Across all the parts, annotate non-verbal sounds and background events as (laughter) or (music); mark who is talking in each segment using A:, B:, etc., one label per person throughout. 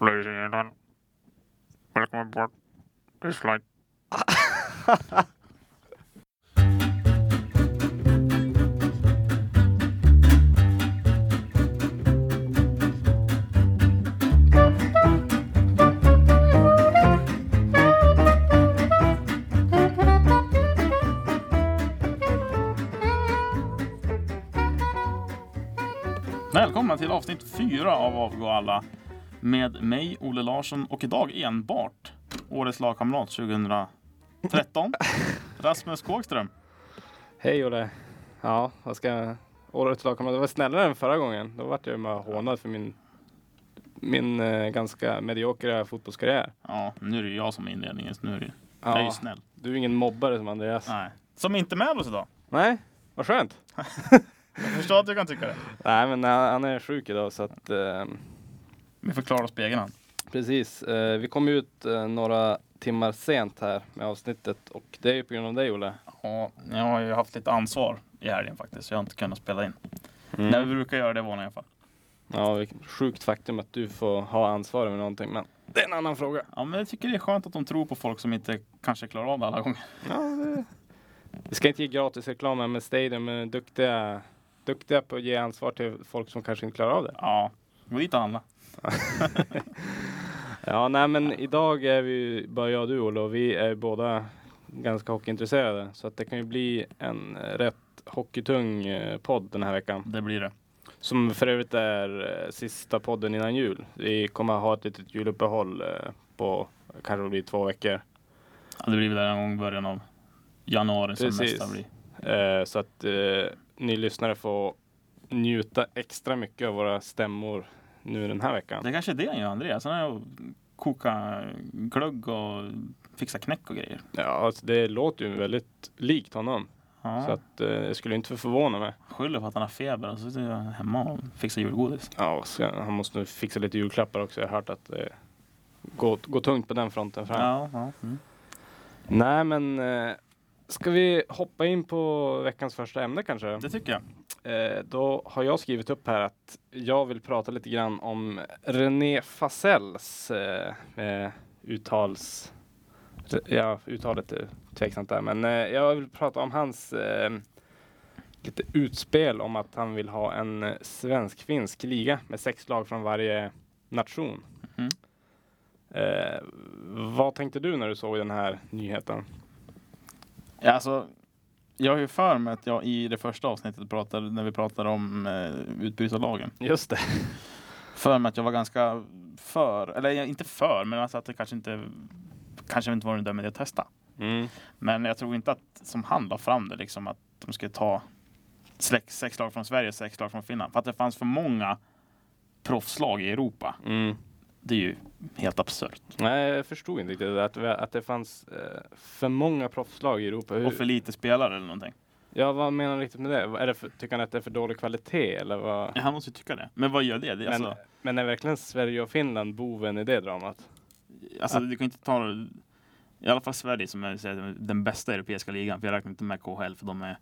A: Ladies and gentlemen, welcome aboard this flight.
B: Välkomna till avsnitt fyra av Avgå alla med mig, Olle Larsson och idag enbart årets lagkamrat 2013, Rasmus Kåkström.
C: Hej Olle. Ja, vad ska årets lagkamrat? Det var snällare än förra gången. Då vart jag ju bara hånad för min, min eh, ganska mediokra fotbollskarriär.
B: Ja, nu är det ju jag som är inledningen, så nu är det, jag är ju
C: Ja,
B: snäll.
C: du är ingen mobbare som Andreas.
B: Nej. Som är inte med oss idag.
C: Nej, vad skönt.
B: Jag förstår att du kan tycka det.
C: Nej, men han, han är sjuk idag så att eh,
B: Vi förklarar oss på egen hand.
C: precis. Eh, vi kom ut eh, några timmar sent här med avsnittet och det är ju på grund av dig Olle.
B: Ja, jag har ju haft lite ansvar i helgen faktiskt, så jag har inte kunnat spela in. Nej, vi brukar göra det i vanliga fall.
C: Ja, vilket sjukt faktum att du får ha ansvar över någonting, men det är en annan fråga.
B: Ja, men jag tycker det är skönt att de tror på folk som inte kanske klarar av det alla gånger.
C: Ja, det... Vi ska inte ge gratis reklam här med Stadium, men duktiga, duktiga på att ge ansvar till folk som kanske inte klarar av det.
B: Ja, gå dit och handla.
C: Ja, nej, men idag är vi ju bara jag och du Olle och vi är båda ganska hockeyintresserade så att det kan ju bli en eh, rätt hockeytung eh, podd den här veckan.
B: Det blir det.
C: Som för övrigt är eh, sista podden innan jul. Vi kommer ha ett litet juluppehåll eh, på kanske det blir två veckor.
B: Ja, det blir väl någon gång i början av januari som
C: Precis.
B: nästa blir.
C: Eh, så att eh, ni lyssnare får njuta extra mycket av våra stämmor nu den här veckan.
B: Det kanske är det han gör, Andreas. Han är och koka glögg och fixa knäck och grejer.
C: Ja, alltså, det låter ju väldigt likt honom. Så
B: Ja,
C: att eh, det skulle inte förvåna mig.
B: skyller på att han har feber och så sitter han hemma och fixar julgodis.
C: Ja, och så, han måste nog fixa lite julklappar också. Jag har hört att det går, går tungt på den fronten fram.
B: Ja, ja. Mm.
C: Nej, men eh, ska vi hoppa in på veckans första ämne kanske?
B: Det tycker jag.
C: Eh, då har jag skrivit upp här att jag vill prata lite grann om René Fasells eh, eh, uttals... Ja, uttalet är tveksamt där, men eh, jag vill prata om hans eh, lite utspel om att han vill ha en eh, svensk-finsk liga med sex lag från varje nation.
B: Mhm.
C: Eh, vad tänkte du när du såg den här nyheten?
B: Ja, Alltså, jag har ju för mig att jag i det första avsnittet pratade, när vi pratade om eh, utbrytarlagen,
C: Just det.
B: för mig att jag var ganska för, eller jag- inte för, men alltså att det kanske inte kanske inte var en dömd idé att testa.
C: Mm.
B: Men jag tror inte att, som han la fram det, liksom, att de skulle ta släck- sex lag från Sverige och sex lag från Finland. För att det fanns för många proffslag i Europa.
C: Mm.
B: Det är ju helt absurt.
C: Nej, jag förstod inte riktigt det där, att, vi- att det fanns eh, för många proffslag i Europa. Hur,
B: Och för lite spelare eller någonting.
C: ja, vad menar du riktigt med det? Är det för, tycker han att det är för dålig kvalitet eller vad?
B: Ja, Han måste ju tycka det. Men vad gör det? det är
C: men,
B: alltså,
C: men är verkligen Sverige och Finland boven i det dramat?
B: alltså, du kan ju inte ta... I alla fall Sverige som är säger, den bästa europeiska ligan. För jag räknar inte med KHL för de är,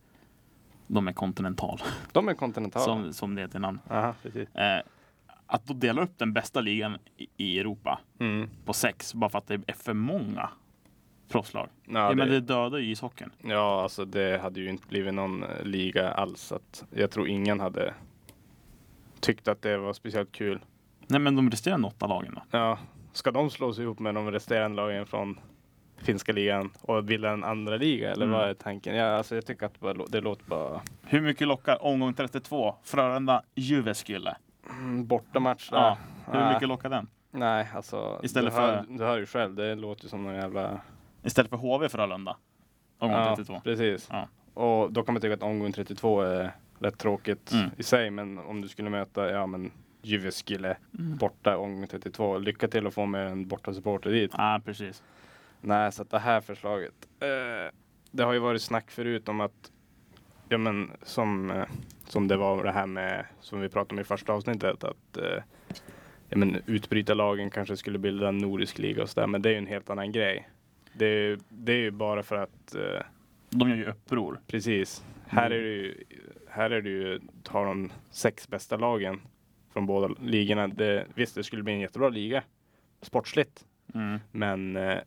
B: de är kontinental.
C: De är kontinentala.
B: Som, som det heter i namn.
C: Aha, precis.
B: Eh, att då dela upp den bästa ligan i, i Europa
C: Mm.
B: på sex bara för att det är för många proffslag.
C: Ja,
B: Ja,
C: det,
B: men det dödar ju ishockeyn.
C: ja, alltså det hade ju inte blivit någon eh, liga alls. så Att jag tror ingen hade tyckt att det var speciellt kul.
B: Nej, men de resterande åtta lagen då?
C: Ja, ska de slås ihop med de resterande lagen från finska ligan och bilda en andra liga eller
B: Mm.
C: vad är tanken? Ja, alltså jag tycker att det, bara, lå- det låter bara
B: Hur mycket lockar omgång 32 Frölunda Jyväskylä?
C: mm, bortamatch.
B: Ja,
C: där.
B: hur mycket lockar den?
C: Nej, alltså
B: Istället
C: du, hör,
B: för-
C: du hör ju själv, det låter ju som någon jävla...
B: Istället för HV Frölunda? Omgång
C: Ja,
B: 32.
C: precis.
B: Ja.
C: Och då kan man tycka att omgång 32 är rätt tråkigt
B: Mm.
C: i sig, men om du skulle möta, ja men Jyväskylä
B: Mm.
C: borta omgång 32, lycka till att få med en bortasupporter dit.
B: Ja, Ah, precis.
C: Nej, så att det här förslaget. Eh, det har ju varit snack förut om att, ja men som, eh, som det var det här med, som vi pratade om i första avsnittet, att eh, ja, men utbrytarlagen kanske skulle bilda en nordisk liga och sådär, men det är ju en helt annan grej. Det är, ju- det är ju bara för att, eh,
B: De gör ju uppror.
C: precis, här är det ju, här är det ju, tar de sex bästa lagen från båda ligorna. Det, visst, det skulle bli en jättebra liga, sportsligt.
B: Mm.
C: Men eh,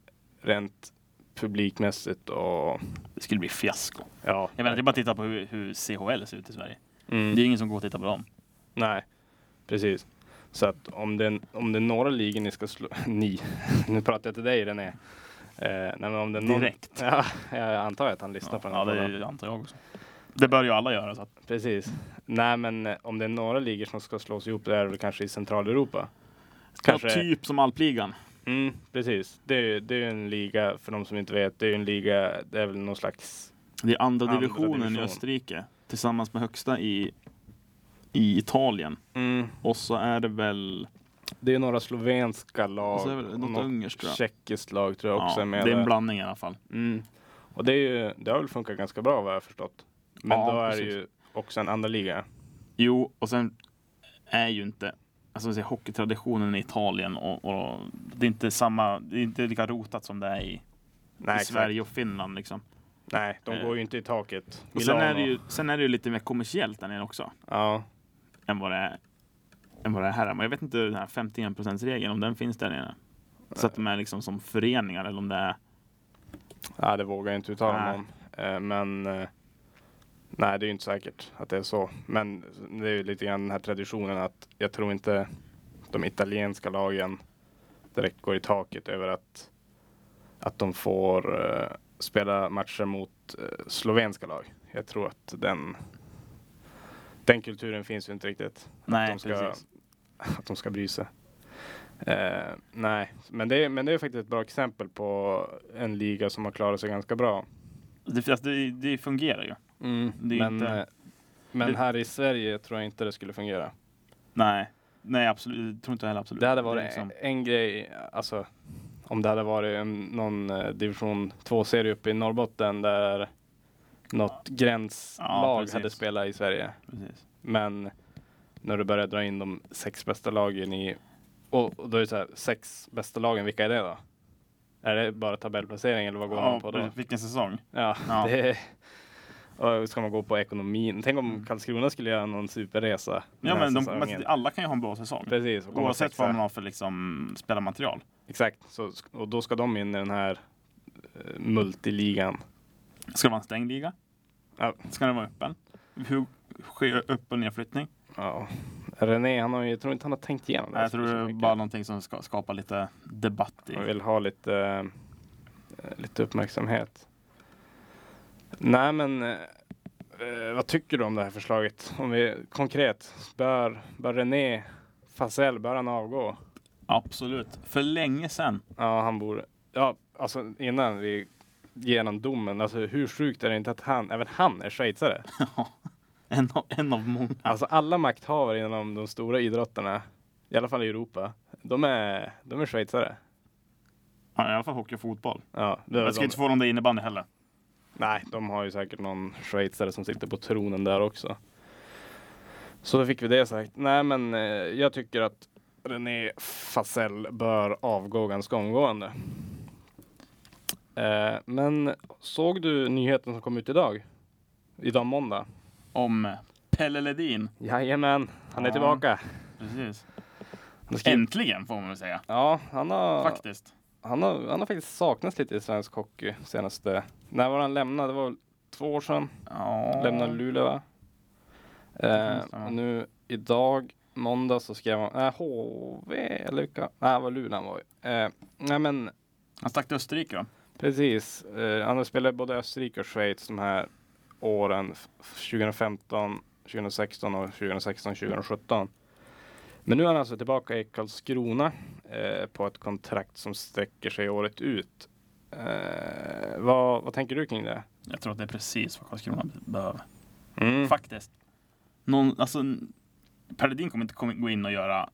C: rent publikmässigt och
B: Det skulle bli fiasko.
C: ja.
B: Jag menar, det är bara att titta på hur, hur CHL ser ut i Sverige.
C: Mm.
B: Det är ingen som går och tittar på dem.
C: Nej, precis. Så att om det, är- om det är några ligor ni ska slå, (laughs) ni, nu pratar jag till dig René. Eh, nej, men om det är någon,
B: Direkt.
C: (laughs) Ja, jag antar att han lyssnar
B: Ja,
C: på den här
B: ja,
C: podden.
B: det antar jag också. Det bör ju alla göra. Så att,
C: Precis. Nej, men eh, om det är några ligor som ska slås ihop, det är väl kanske i Centraleuropa. Kanske.
B: Ja, typ som alpligan.
C: Mm, precis. Det är ju det är ju en liga, för de som inte vet, det är ju en liga, det är väl någon slags...
B: Det är andra,
C: Andra
B: divisionen i
C: division.
B: Österrike tillsammans med högsta i, i Italien.
C: Mm.
B: Och så är det väl,
C: Det är ju några slovenska lag.
B: och så är det väl
C: och
B: något
C: något
B: ungerskt tror jag.
C: tjeckiskt lag tror jag också är
B: Ja,
C: med
B: det är en
C: där.
B: blandning i alla fall.
C: Mm. Och det, är ju, det har väl funkat ganska bra vad jag har förstått. Men
B: Ja,
C: då är
B: precis.
C: det ju också en andra liga.
B: Jo, och sen är ju inte alltså, jag säger, hockeytraditionen i Italien och, och det är inte samma, det är inte lika rotat som det är i,
C: Nej,
B: i
C: exakt.
B: Sverige och Finland liksom.
C: Nej, de
B: Eh.
C: går ju inte i taket.
B: Och sen är,
C: Milano.
B: det ju, sen är det ju lite mer kommersiellt där nere också
C: Ja,
B: än vad det är, än vad det är här. Men jag vet inte den här 51 regeln om den finns där nere. Så att de är liksom som föreningar eller om det är
C: nej, det vågar jag inte uttala mig
B: Nej.
C: om. Eh, Men eh, nej, det är ju inte säkert att det är så. Men det är ju lite grann den här traditionen att jag tror inte de italienska lagen direkt går i taket över att, att de får eh, spela matcher mot eh, slovenska lag. Jag tror att den, den kulturen finns ju inte riktigt.
B: Nej,
C: de ska-
B: precis.
C: (laughs) att de ska bry sig. Eh, nej, men det, är, men det är faktiskt ett bra exempel på en liga som har klarat sig ganska bra.
B: Det, alltså, det, det fungerar ju. Mm, Det är
C: men,
B: inte-
C: eh, men
B: det-
C: här i Sverige tror jag inte det skulle fungera.
B: Nej, nej absolut. Jag tror inte heller absolut.
C: Det hade
B: är
C: varit
B: liksom-
C: en grej, alltså om det hade varit en, någon eh, division 2-serie uppe i Norrbotten där något
B: Ja,
C: gränslag
B: precis.
C: hade spelat i Sverige.
B: Precis.
C: Men när du börjar dra in de sex bästa lagen i... Och, och då är det så här, sex bästa lagen, vilka är det då? Är det bara tabellplacering eller vad går man
B: Ja,
C: på då?
B: vilken säsong?
C: Ja,
B: Ja.
C: (laughs) det är... Och ska man gå på ekonomin? Tänk om
B: Mm.
C: Karlskrona skulle göra någon superresa den
B: Ja,
C: här
B: men de,
C: säsongen.
B: men alla kan ju ha en bra säsong.
C: Precis, och komma
B: Oavsett
C: sexa.
B: vad man har för liksom, spelarmaterial.
C: Exakt, så, sk- och då ska de in i den här eh, multiligan.
B: Ska det vara en stängd liga?
C: Ja.
B: Ska den vara öppen? Hur sker upp och nedflyttning?
C: Ja. René, han har, ju- jag tror inte han har tänkt igenom det. här
B: Jag tror det
C: så
B: är
C: mycket.
B: bara någonting som ska skapa lite debatt.
C: Man
B: I.
C: vill ha lite, eh, lite uppmärksamhet. Nej men, eh, vad tycker du om det här förslaget? Om vi konkret, bör, bör René Fasell, bör han avgå?
B: Absolut. För länge sedan. (laughs)
C: Ja, han borde, ja alltså innan vi genom domen, alltså hur sjukt är det inte att han, även han är schweizare?
B: en, av, en av många.
C: Alltså alla makthavare inom de stora idrotterna, i alla fall i Europa, de är, de är schweizare.
B: Ja, I alla fall hockey och fotboll.
C: Ja, det är
B: Jag skulle
C: de-
B: inte förvåna om det är innebandy heller.
C: Nej, de har ju säkert någon schweizare som sitter på tronen där också. Så då fick vi det sagt. Nej, men eh, jag tycker att René Fasell bör avgå ganska omgående. Eh, men såg du nyheten som kom ut idag? Idag måndag?
B: Om eh, Pelle Ledin.
C: Jajamän, han är
B: Ja.
C: tillbaka.
B: Precis.
C: Han har skrivit-
B: Äntligen får man väl säga.
C: Ja, han har,
B: Faktiskt.
C: han, har, han har faktiskt saknats lite i svensk hockey senaste... När var han lämnad? Det var väl två år sedan?
B: Ja.
C: lämnar Luleå. va?
B: kan
C: Eh,
B: stämma.
C: och nu idag, måndag, så skrev han eh, HV eller vilka? Nej, det var Luleå han var i. eh, Nej, men
B: Han stack till Österrike då.
C: precis. Eh, han har spelat i både Österrike och Schweiz de här åren f- 2015, 2016 och 2016, 2017. Men nu är han alltså tillbaka i Karlskrona eh, på ett kontrakt som sträcker sig året ut. Eh, vad, vad tänker du kring det?
B: Jag tror att det är precis vad Karlskrona be- behöver.
C: Mm.
B: Faktiskt. Någon, alltså, n- Per Ledin kommer inte komma- gå in och göra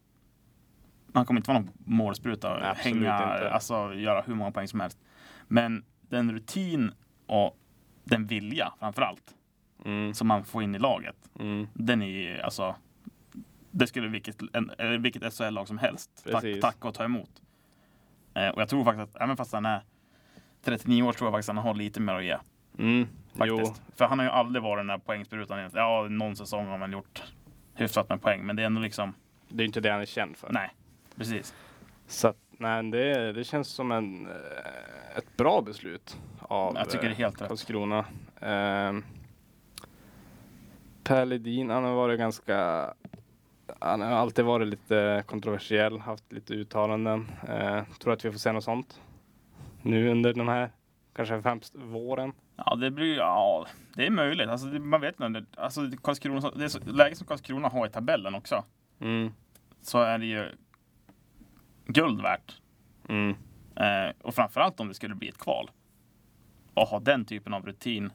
B: han kommer inte vara någon målspruta och
C: Nej, absolut
B: hänga,
C: inte.
B: alltså göra hur många poäng som helst. Men den rutin och den vilja framför allt
C: Mm.
B: som man får in i laget.
C: Mm.
B: Den är ju, alltså, det skulle vilket, en, eller vilket SHL-lag som helst tack,
C: Precis.
B: tack och ta emot. Eh, och jag tror faktiskt att även fast han är 39 år tror jag faktiskt att han har lite mer att ge.
C: Mm. Jo,
B: Faktiskt. För han har ju aldrig varit den där poängsprutan. egentligen. Ja, någon säsong har man gjort hyfsat med poäng, men det är ändå liksom...
C: Det är inte det han är känd för.
B: Nej, precis.
C: Så att, Nej, det, det känns som en, eh, ett bra beslut av
B: Jag tycker det är helt
C: eh,
B: rätt.
C: Karlskrona. Ehm, per Ledin, han har varit ganska... Han har alltid varit lite kontroversiell, haft lite uttalanden. Eh, tror att vi får se något sånt nu under den här, kanske främst våren.
B: Ja, det blir ja, det är möjligt. Alltså, det, man vet inte. Alltså, Karlskrona, det är så, läget som Karlskrona har i tabellen också,
C: Mm.
B: så är det ju guld värt.
C: Mm.
B: Eh, och framförallt om det skulle bli ett kval. Och ha den typen av rutin.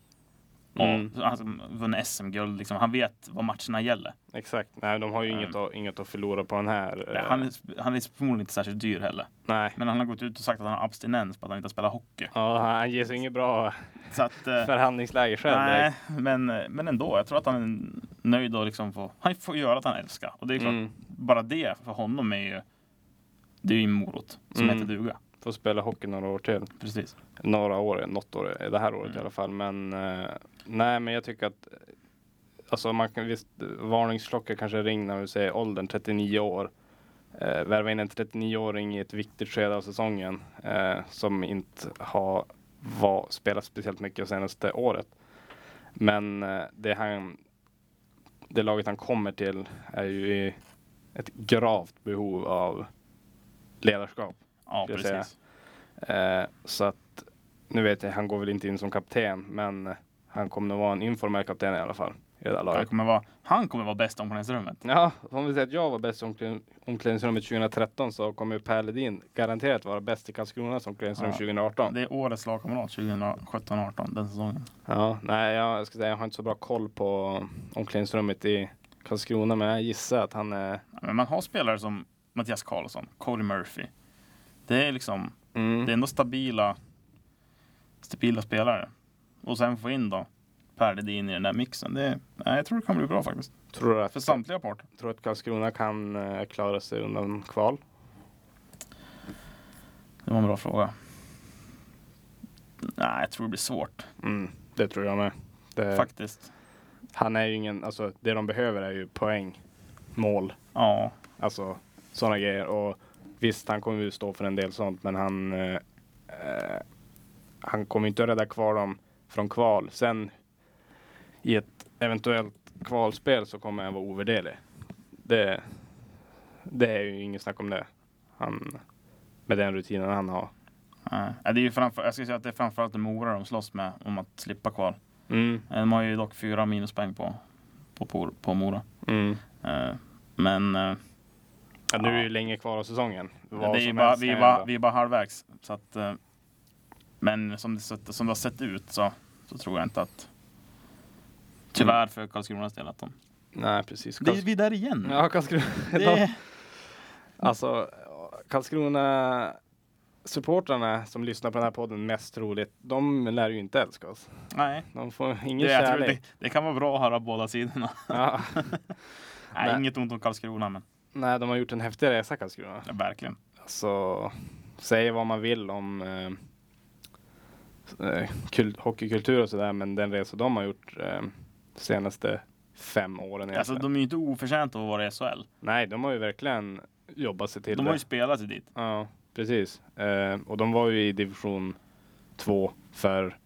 B: Och
C: Mm.
B: han som vunnit SM-guld, liksom, han vet vad matcherna gäller.
C: Exakt. Nej, de har ju inget, att, inget att förlora på den här. eh,
B: Ehm. Han, är, han är förmodligen inte särskilt dyr heller.
C: Nej.
B: Men han har gått ut och sagt att han har abstinens på att han inte spelar hockey.
C: Ja, han ger sig inget bra
B: Så att, eh,
C: förhandlingsläge själv. direkt.
B: nej, men, eh, men ändå. Jag tror att han är nöjd och liksom får, han får göra att han älskar. Och det är klart,
C: Mm.
B: bara det för honom är ju, det är ju en morot som
C: Mm.
B: heter duga.
C: Får spela hockey några år till.
B: Precis.
C: Några år, något år, eh, det här året i
B: Mm.
C: alla fall. Men eh, nej, men jag tycker att eh, alltså man kan visst, eh, varningsklocka kanske ring när vi säger åldern 39 år. Eh, värva in en 39-åring i ett viktigt skede av säsongen eh, som inte har var, spelat speciellt mycket senaste året. Men eh, det, han, det laget han kommer till är ju i ett gravt behov av ledarskap.
B: Ja,
C: Ska jag säga.
B: precis.
C: Eh, så att nu vet jag, han går väl inte in som kapten, men eh, han kommer att vara en informell kapten i alla fall i det där
B: Han
C: laget.
B: kommer vara, han kommer vara bäst i omklädningsrummet.
C: Ja, om vi säger att jag var bäst i omklädnings- omklädningsrummet 2013 så kommer ju Per Ledin garanterat vara bäst i Karlskronas omklädningsrum
B: Ja.
C: 2018.
B: Det är årets lagkamrat 2017-18, den säsongen.
C: Ja, nej, jag, ska säga, jag har inte så bra koll på omklädningsrummet i Karlskrona, men jag gissar att han är...
B: Men man har spelare som Mattias Karlsson, Cody Murphy. Det är liksom,
C: Mm,
B: det är ändå stabila, stabila spelare. Och sen få in då Per Ledin i den där mixen. Det, nej, jag tror det kan bli bra faktiskt.
C: tror, du
B: För
C: att,
B: samtliga parter.
C: tror du att Karlskrona kan eh, klara sig undan kval?
B: Det var en bra fråga. Nej, jag tror det blir svårt
C: Mm, det tror jag med. Det,
B: faktiskt.
C: Han är ju ingen, alltså det de behöver är ju poäng, mål,
B: Ja,
C: alltså sådana grejer. Och visst, han kommer ju stå för en del sånt, men han, eh, eh, han kommer ju inte att rädda kvar dem från kval. Sen i ett eventuellt kvalspel så kommer han vara ovärderlig. Det, det är ju inget snack om det. Han, med den rutinen han har.
B: nej. Ja, det är ju framför, jag ska säga att det är framförallt Mora de slåss med om att slippa kval.
C: Mm,
B: De har ju dock fyra minuspoäng på, på, på, på Mora.
C: mm.
B: Eh, Men eh,
C: Ja, nu är det ju länge kvar av säsongen. Vad
B: det är ju
C: som
B: bara,
C: helst
B: vi, är
C: kan
B: bara,
C: hända.
B: vi är bara halvvägs. Så att, eh, men som det, sett- som det har sett ut så, så tror jag inte att... Tyvärr för Karlskronas del att de...
C: Nej, precis.
B: Det är vi där igen.
C: Ja, Karlskrona. (laughs)
B: Det,
C: Alltså, Karlskrona supportrarna som lyssnar på den här podden mest troligt, de lär ju inte älska oss.
B: nej,
C: De får ingen
B: det, jag tror
C: kärlek.
B: det, det kan vara bra att höra båda sidorna. (laughs)
C: Ja.
B: Nej,
C: Nej.
B: Inget ont om Karlskrona, men
C: Nej, de har gjort en häftig resa Karlskrona.
B: ja, verkligen.
C: Alltså, säg vad man vill om eh, eh, kul- hockeykultur och sådär, men den resa de har gjort eh, senaste fem åren.
B: Alltså,
C: egentligen.
B: de är ju inte oförtjänta av att vara i SHL.
C: Nej, de har ju verkligen jobbat sig till
B: De
C: det.
B: har ju spelat sig dit.
C: Ja, precis. Eh, och de var ju i division 2 för,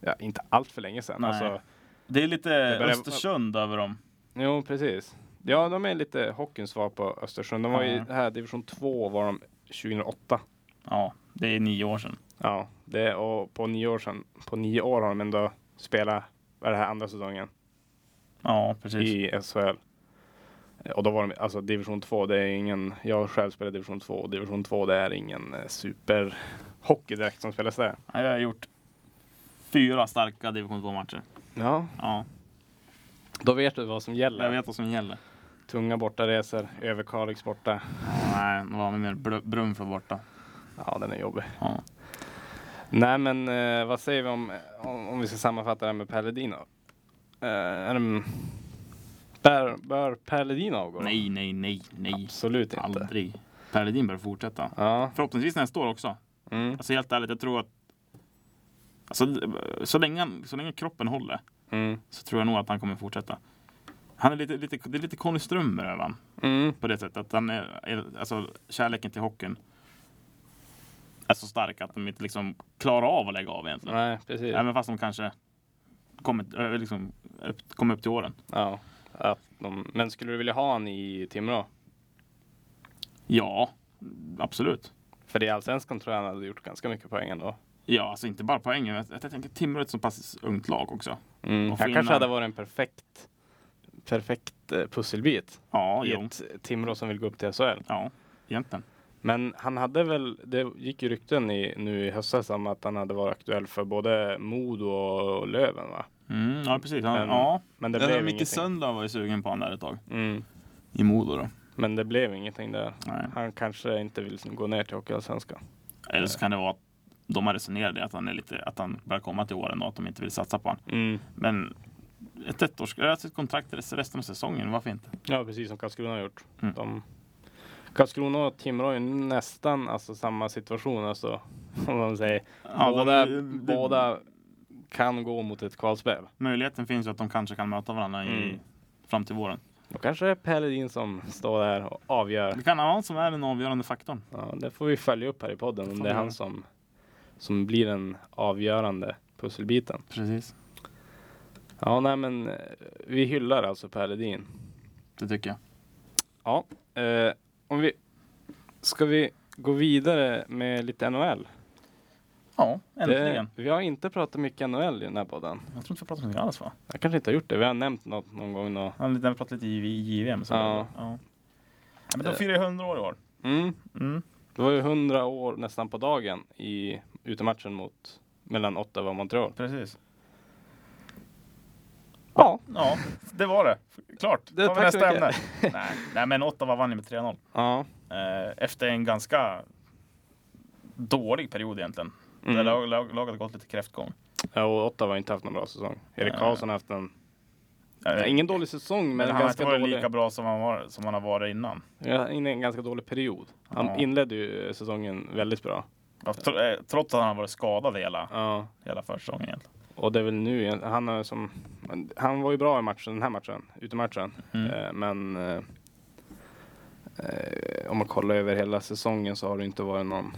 C: ja, inte allt för länge sedan.
B: Nej.
C: Alltså,
B: Det är lite
C: börjar-
B: Östersund över dem.
C: jo, precis. Ja, de är lite hockeyns svar på Östersund. De var i
B: Ja.
C: här division 2 var de 2008.
B: Ja, det är nio år sedan.
C: Ja, det, och på nio år sedan, på nio år har de ändå spelat, vad är det här, andra säsongen
B: Ja, precis.
C: i SHL. Eh, Och då var de, alltså division 2, det är ingen, jag själv spelar division 2 och division 2 det är ingen eh, superhockey direkt som spelas där.
B: Ja, Jag har gjort fyra starka division 2-matcher.
C: Ja,
B: Ja,
C: då vet du vad som gäller.
B: jag vet vad som gäller.
C: Tunga bortaresor, över Kalix borta.
B: Ja, nej, nu var vi mer Br- Brunflo borta.
C: Ja, den är jobbig.
B: Ja.
C: Nej, men eh, vad säger vi om, om, om vi ska sammanfatta det här med Pelledino? Eh, är det- bör, bör Pelledino avgå?
B: Nej, nej, nej, nej.
C: Absolut inte.
B: Aldrig. Per Ledin bör fortsätta.
C: Ja,
B: Förhoppningsvis nästa år också.
C: mm,
B: Alltså helt ärligt, jag tror att alltså, så, länge, så länge kroppen håller
C: mm,
B: så tror jag nog att han kommer fortsätta. Han är lite, lite, det är lite Conny Strömmer över han
C: mm,
B: på det sättet. Att han är, är- alltså, kärleken till hockeyn är så starka att de inte liksom klarar av att lägga av egentligen.
C: Nej, precis.
B: Även fast de kanske kommit, ö, liksom, upp, kom upp till åren.
C: Ja. Att de, men skulle du vilja ha en i Timrå?
B: Ja, absolut.
C: För i Allsvenskan tror jag han hade gjort ganska mycket poäng ändå.
B: Ja, alltså inte bara poäng. Jag, jag tänker Timrå är ett så pass ungt lag också.
C: Mm.
B: Och
C: Han
B: Finland.
C: kanske hade varit en perfekt, perfekt eh, pusselbit
B: Ja,
C: i
B: jo.
C: ett Timrå som vill gå upp till SHL.
B: Ja, egentligen.
C: Men han hade väl, det gick ju rykten i, nu i höstas om att han hade varit aktuell för både Modo och Löven va?
B: Mm, ja, precis. Han,
C: Men
B: ja.
C: Men det
B: Det där
C: blev
B: Micke
C: ingenting.
B: Söndag var ju sugen på han där ett tag.
C: Mm.
B: I Modo då.
C: Men det blev ingenting där.
B: Nej.
C: Han kanske inte vill liksom gå ner till Hockeyallsvenskan.
B: Eller så kan det vara att de har resonerat det, att han, är lite, att han börjar komma till åren och att de inte vill satsa på honom.
C: Mm.
B: Men ett ettårs, eller ett kontrakt resten av säsongen, varför inte?
C: Ja, precis som Karlskrona har gjort.
B: Mm.
C: De, Karlskrona och Timrå är ju nästan alltså, samma situation. Alltså, (laughs) om man säger.
B: Ja,
C: båda,
B: de- de-
C: båda kan gå mot ett kvalspel.
B: Möjligheten finns ju att de kanske kan möta varandra i,
C: Mm.
B: fram till våren.
C: Då kanske det är Pelledin som står där och avgör.
B: Det kan vara han som är den avgörande faktorn.
C: Ja, det får vi följa upp här i podden om
B: får
C: det är
B: vi
C: han
B: göra.
C: som, som blir den avgörande pusselbiten.
B: Precis.
C: Ja, nej men eh, vi hyllar alltså Per Ledin.
B: Det tycker jag.
C: Ja, eh, om vi ska vi gå vidare med lite NHL?
B: Ja,
C: Det-
B: äntligen.
C: vi har inte pratat mycket NHL i den här podden.
B: Jag tror inte vi pratat om någonting alls va?
C: Jag kanske inte har gjort det. Vi har nämnt något någon gång. Nå.
B: Han har pratat lite i JVM.
C: så- Ja. Eh.
B: Men de firar ju 100 år i år.
C: Mm. Det var ju hundra år nästan på dagen i utematchen mot mellan Ottawa och Montreal.
B: Precis.
C: Ja,
B: Ja, det var det. Klart.
C: Det-
B: Tar vi
C: tack så
B: nästa ämne.
C: mycket.
B: Nej, nej, men Ottawa vann ju med 3-0.
C: ja.
B: Eh, efter en ganska dålig period egentligen. Där
C: Mm.
B: lag, lag, laget har gått lite kräftgång. Eh,
C: ja och Ottawa har inte haft någon bra säsong. Erik
B: Nej.
C: Karlsson har haft en,
B: Eh,
C: ingen dålig säsong, men
B: men
C: en
B: han har inte
C: ganska
B: varit
C: dålig,
B: lika bra som han, var, som han har varit innan.
C: ja, in i en ganska dålig period. Han
B: Ja.
C: inledde ju säsongen väldigt bra.
B: Tr- eh, Trots att han har varit skadad hela,
C: Ja.
B: hela försäsongen egentligen.
C: Och det är väl nu, igen- han, har som, han var ju bra i matchen, den här matchen, utematchen.
B: Mm.
C: Eh, Men eh, eh, om man kollar över hela säsongen så har det inte varit någon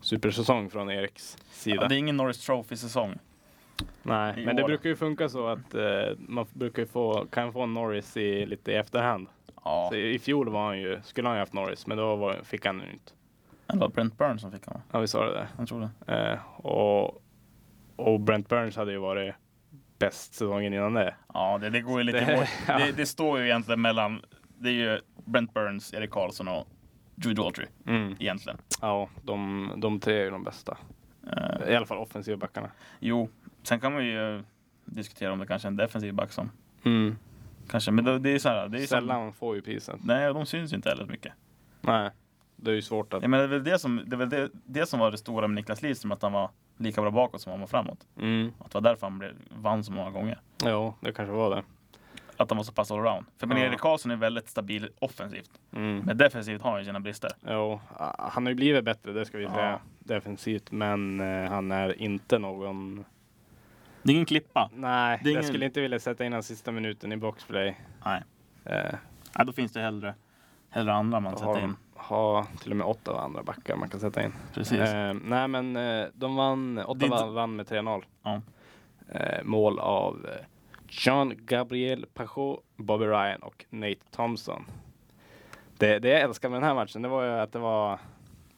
C: supersäsong från Eriks sida.
B: Ja, det är ingen Norris Trophy-säsong.
C: Nej,
B: i
C: men det
B: år.
C: brukar ju funka så att eh, man brukar ju få, kan få Norris i, lite i efterhand.
B: Ja,
C: Så i, I fjol var han ju, skulle han ju haft Norris, men då var, fick han ju inte.
B: det var Brent Burns som fick honom.
C: Ja, vi sa det där.
B: Han tror det.
C: Eh, och, och Brent Burns hade ju varit bäst säsongen innan det.
B: Ja, det, det går ju lite
C: Det-
B: emot.
C: ja.
B: det, det står ju egentligen mellan, det är ju Brent Burns, Erik Karlsson och Drew Daughtry
C: Mm.
B: egentligen.
C: Ja, de, de tre är ju de bästa.
B: Eh,
C: I alla fall offensiva backarna.
B: Jo, sen kan man ju eh, diskutera om det kanske är en defensiv back som
C: Mm.
B: kanske, men det, det är så här. Det är som-
C: Sällan får ju priset.
B: nej, de syns ju inte heller så mycket.
C: Nej, det är ju svårt att...
B: Jag menar, det är väl det som, det, är väl det, det som var det stora med Niklas Lidström, att han var lika bra bakåt som han var framåt.
C: Mm.
B: Att det var därför han blev, vann så många gånger.
C: Ja, det kanske var det.
B: Att han var så pass allround. För men
C: Ja.
B: Erik Karlsson är väldigt stabil offensivt,
C: Mm.
B: men defensivt har han ju sina brister.
C: Ja, han har ju blivit bättre, det ska vi
B: Ja.
C: säga. Defensivt, men eh, han är inte någon...
B: Det är ingen klippa.
C: Nej,
B: Det är
C: jag
B: ingen-
C: skulle inte vilja sätta in den sista minuten i boxplay.
B: Nej,
C: Eh,
B: ja, då finns det hellre, hellre andra man
C: då
B: sätter
C: har,
B: in.
C: har till och med åtta andra backar man kan sätta in.
B: Precis.
C: Eh, nej, men eh, de vann,
B: Det är
C: Ottawa
B: inte-
C: vann med 3-0.
B: Ja.
C: Eh, mål av eh, Jean-Gabriel Pajot, Bobby Ryan och Nate Thompson. Det, det jag älskar med den här matchen, det var ju att det var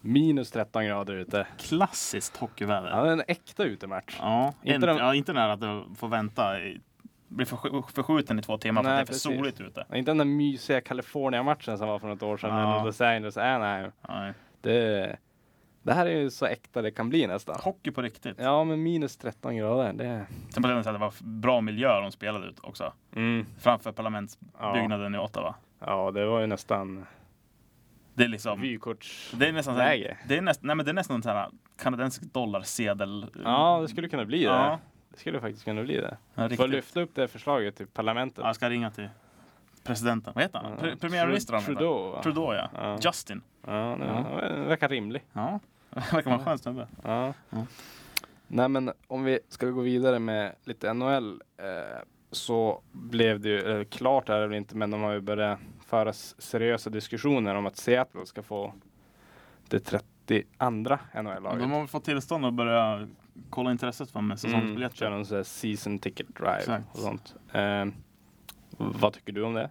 C: minus 13 grader ute.
B: Klassiskt hockeyväder.
C: Ja, det är en äkta utematch.
B: Ja,
C: Inte
B: inte,
C: de-
B: ja, inte den här att du får vänta, i- blir försk- förskjuten i två timmar för att
C: Nej,
B: det är för
C: precis.
B: soligt ute.
C: Ja. Inte den där mysiga California-matchen som var för något år sedan
B: Ja.
C: ja. mot Los Angeles Anaheim.
B: Nej.
C: Det, det här är ju så äkta det kan bli nästan.
B: Hockey på riktigt.
C: Ja, men minus 13 grader. Det,
B: Sen på den sidan att det var f- bra miljö de spelade ut också.
C: mm,
B: Framför parlamentsbyggnaden i Ottawa.
C: ja, det var ju nästan
B: Det är liksom...
C: vykorts...
B: Det är nästan så här,
C: Läge.
B: det är näst, nej men det är nästan en sån här kanadensisk dollarsedel.
C: Ja, det skulle kunna bli det.
B: Ja,
C: Det skulle faktiskt kunna bli det.
B: ja,
C: Får
B: riktigt.
C: lyfta upp det här förslaget till parlamentet.
B: Ja, jag ska ringa till presidenten. Vad heter han?
C: Ja.
B: Pre- Premiärministern?
C: Tru-
B: han heter.
C: Trudeau. va?
B: Trudeau ja.
C: Ja.
B: Justin.
C: Ja, det
B: Ja.
C: det verkar rimlig.
B: Ja. (laughs) Verkar vara en skön snubbe.
C: Ja.
B: Ja.
C: Nej, men om vi ska gå vidare med lite NHL eh, så blev det ju, eller klart är det väl inte, men de har ju börjat föras seriösa diskussioner om att Seattle ska få det 32
B: Ja,
C: NHL-laget.
B: De har väl fått tillstånd att börja kolla intresset för med säsongsbiljetter.
C: Mm, Kör någon sån här season ticket drive
B: Exakt.
C: och sånt. Eh, vad tycker du om det?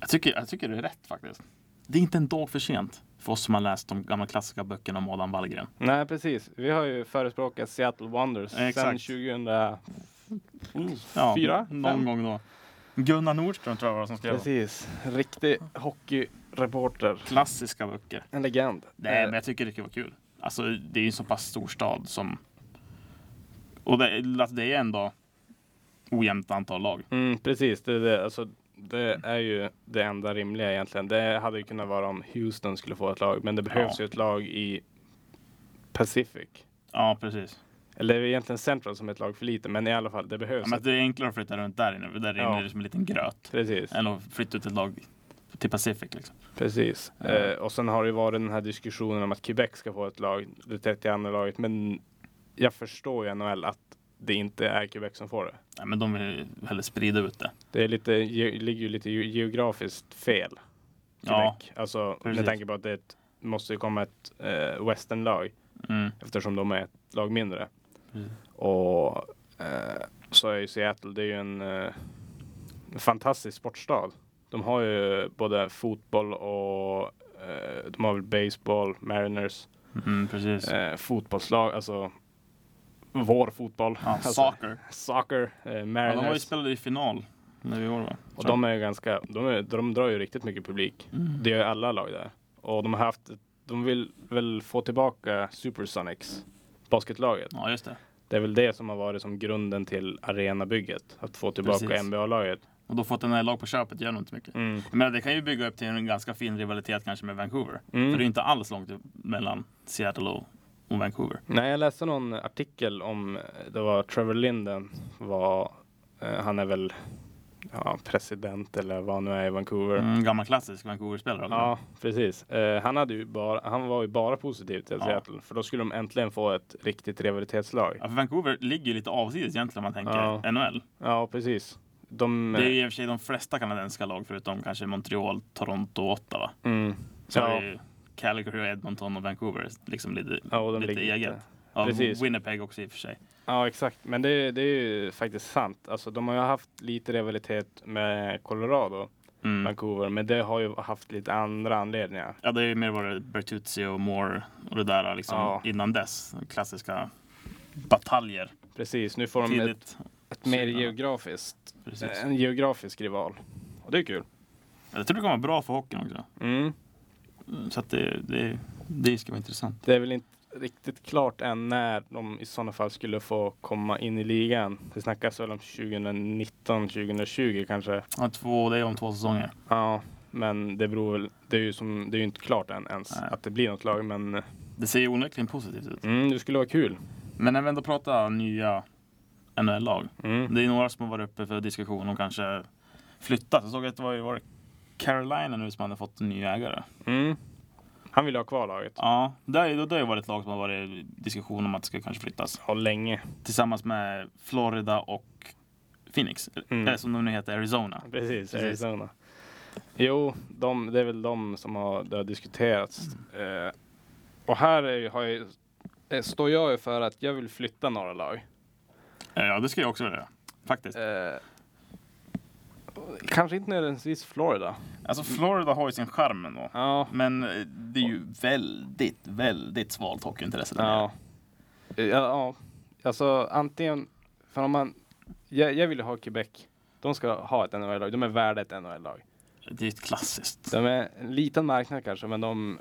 B: Jag, tycker, jag tycker det är rätt faktiskt. Det är inte en dag för sent för oss som har läst de gamla klassiska böckerna om Adam Wallgren.
C: Nej, precis. Vi har ju förespråkat Seattle Wonders
B: Exakt.
C: sedan 2004.
B: Ja,
C: fem.
B: Någon gång då. Gunnar Nordström tror jag var det som skrev dem.
C: Precis. Riktig hockeyreporter.
B: klassiska böcker.
C: En legend.
B: Nej,
C: Eh,
B: men jag tycker det kan vara kul. Alltså, det är ju en så pass stor stad som... Och det, att det är ändå ojämnt antal lag.
C: Mm, precis, det, är det, alltså, det är ju det enda rimliga egentligen. Det hade ju kunnat vara om Houston skulle få ett lag, men det behövs
B: Ja.
C: ju ett lag i Pacific.
B: Ja, precis.
C: Eller det är egentligen Central som är ett lag för lite, men i alla fall, det behövs.
B: Ja, men
C: ett,
B: det är enklare att flytta runt där inne, för där
C: Ja.
B: inne är det som en liten gröt.
C: precis,
B: Än att flytta ut ett lag till Pacific. Liksom.
C: precis.
B: Ja.
C: Eh, och sen har det ju varit den här diskussionen om att Quebec ska få ett lag, det 32 laget, men jag förstår ju NHL att det inte är Quebec som får det.
B: Nej, men de vill ju hellre sprida ut det.
C: Det är lite, ge, ligger ju lite ge- geografiskt fel.
B: Ja,
C: Quebec. alltså
B: precis.
C: med tanke på att det är ett, måste ju komma ett eh, westernlag
B: mm,
C: eftersom de är ett lag mindre.
B: precis.
C: Och eh, så är ju Seattle, det är ju en eh, fantastisk sportstad. De har ju både fotboll och eh, de har väl baseball, Mariners,
B: Mm, precis.
C: eh, fotbollslag, alltså vår fotboll.
B: Ja,
C: alltså,
B: soccer.
C: soccer,
B: Ja,
C: eh,
B: de var ju
C: Mariners.
B: spelade i final när vi var va?
C: och de är ju ganska, de, är, de drar ju riktigt mycket publik.
B: Mm.
C: Det gör alla lag där. Och de har haft, de vill väl få tillbaka Supersonics, basketlaget.
B: Ja, just det.
C: Det är väl det som har varit som grunden till arenabygget. Att få tillbaka
B: Precis.
C: NBA-laget.
B: Och då fått en här lag på köpet gör nog inte mycket.
C: Mm.
B: Jag menar, det kan ju bygga upp till en ganska fin rivalitet kanske med Vancouver.
C: Mm.
B: För det är ju inte alls långt mellan Seattle och, och Vancouver.
C: Nej, jag läste någon artikel om, det var Trevor Linden, var, eh, han är väl ja, president eller vad han nu är i Vancouver.
B: Mm, gammal klassisk Vancouver-spelare. eller?
C: Ja, precis. Eh, han, hade ju bara, han var ju bara positiv till
B: Ja.
C: Seattle, för då skulle de äntligen få ett riktigt rivalitetslag.
B: Ja, för Vancouver ligger ju lite avsides egentligen om man tänker
C: Ja.
B: NHL.
C: Ja, precis. De,
B: Det är ju i och för sig de flesta kanadensiska lag förutom kanske Montreal, Toronto och Ottawa.
C: Mm.
B: Så
C: Ja,
B: är det ju Calgary, och Edmonton och Vancouver. Liksom lite,
C: ja, och de
B: lite
C: ligger
B: eget.
C: inte-
B: ja,
C: precis.
B: Winnipeg också i och för sig.
C: Ja, exakt. Men det, det är ju faktiskt sant. Alltså, de har ju haft lite rivalitet med Colorado,
B: Mm.
C: Vancouver, men det har ju haft lite andra anledningar.
B: Ja, det är ju mer varit Bertuzzi och Moore och det där liksom
C: Ja.
B: innan dess. Klassiska bataljer.
C: Precis, nu får de ett, Eh.
B: Tidigt.
C: ett mer
B: Ja.
C: geografiskt,
B: Precis.
C: en geografisk rival. Och det är kul.
B: Jag tror det kommer vara bra för hockeyn också.
C: Mm.
B: Så att det, det, det ska vara intressant.
C: Det är väl inte riktigt klart än när de i sådana fall skulle få komma in i ligan. Det snackas väl om 2019, 2020 kanske.
B: Ja, två, det är om två säsonger.
C: Ja, men det beror väl. Det är ju som, det är ju inte klart än ens
B: Nej.
C: att det blir något lag, men
B: Det ser ju onekligen positivt ut.
C: mm, det skulle vara kul.
B: Men när vi ändå pratar nya NHL-lag.
C: Mm.
B: Det är några som har varit uppe för diskussion om kanske flytta. Jag såg att det var, ju- var det Carolina nu som hade fått en ny ägare.
C: Mm. Han vill ha kvar laget.
B: Ja, det har ju det har ju varit ett lag som har varit i diskussion om att det ska kanske flyttas.
C: Ja, länge.
B: Tillsammans med Florida och Phoenix.
C: Mm.
B: Eller eh, som de nu heter, Arizona.
C: Precis,
B: Precis.
C: Arizona. Jo, de, det är väl de som har, det har diskuterats.
B: Mm.
C: Eh, och här är, ju- har jag, eh, står jag ju för att jag vill flytta några lag.
B: Eh, Ja, det skulle jag också vilja göra. Faktiskt.
C: Eh, kanske inte nödvändigtvis Florida.
B: Alltså Florida har ju sin charm ändå.
C: Ja,
B: Men eh, det är ju väldigt, väldigt svalt hockeyintresse där nere.
C: Ja. Ja, ja. Alltså antingen, för om man, jag, jag vill ju ha Quebec. De ska ha ett NHL-lag. De är värda ett NHL-lag.
B: Det är ju ett klassiskt.
C: De är en liten marknad kanske, men de,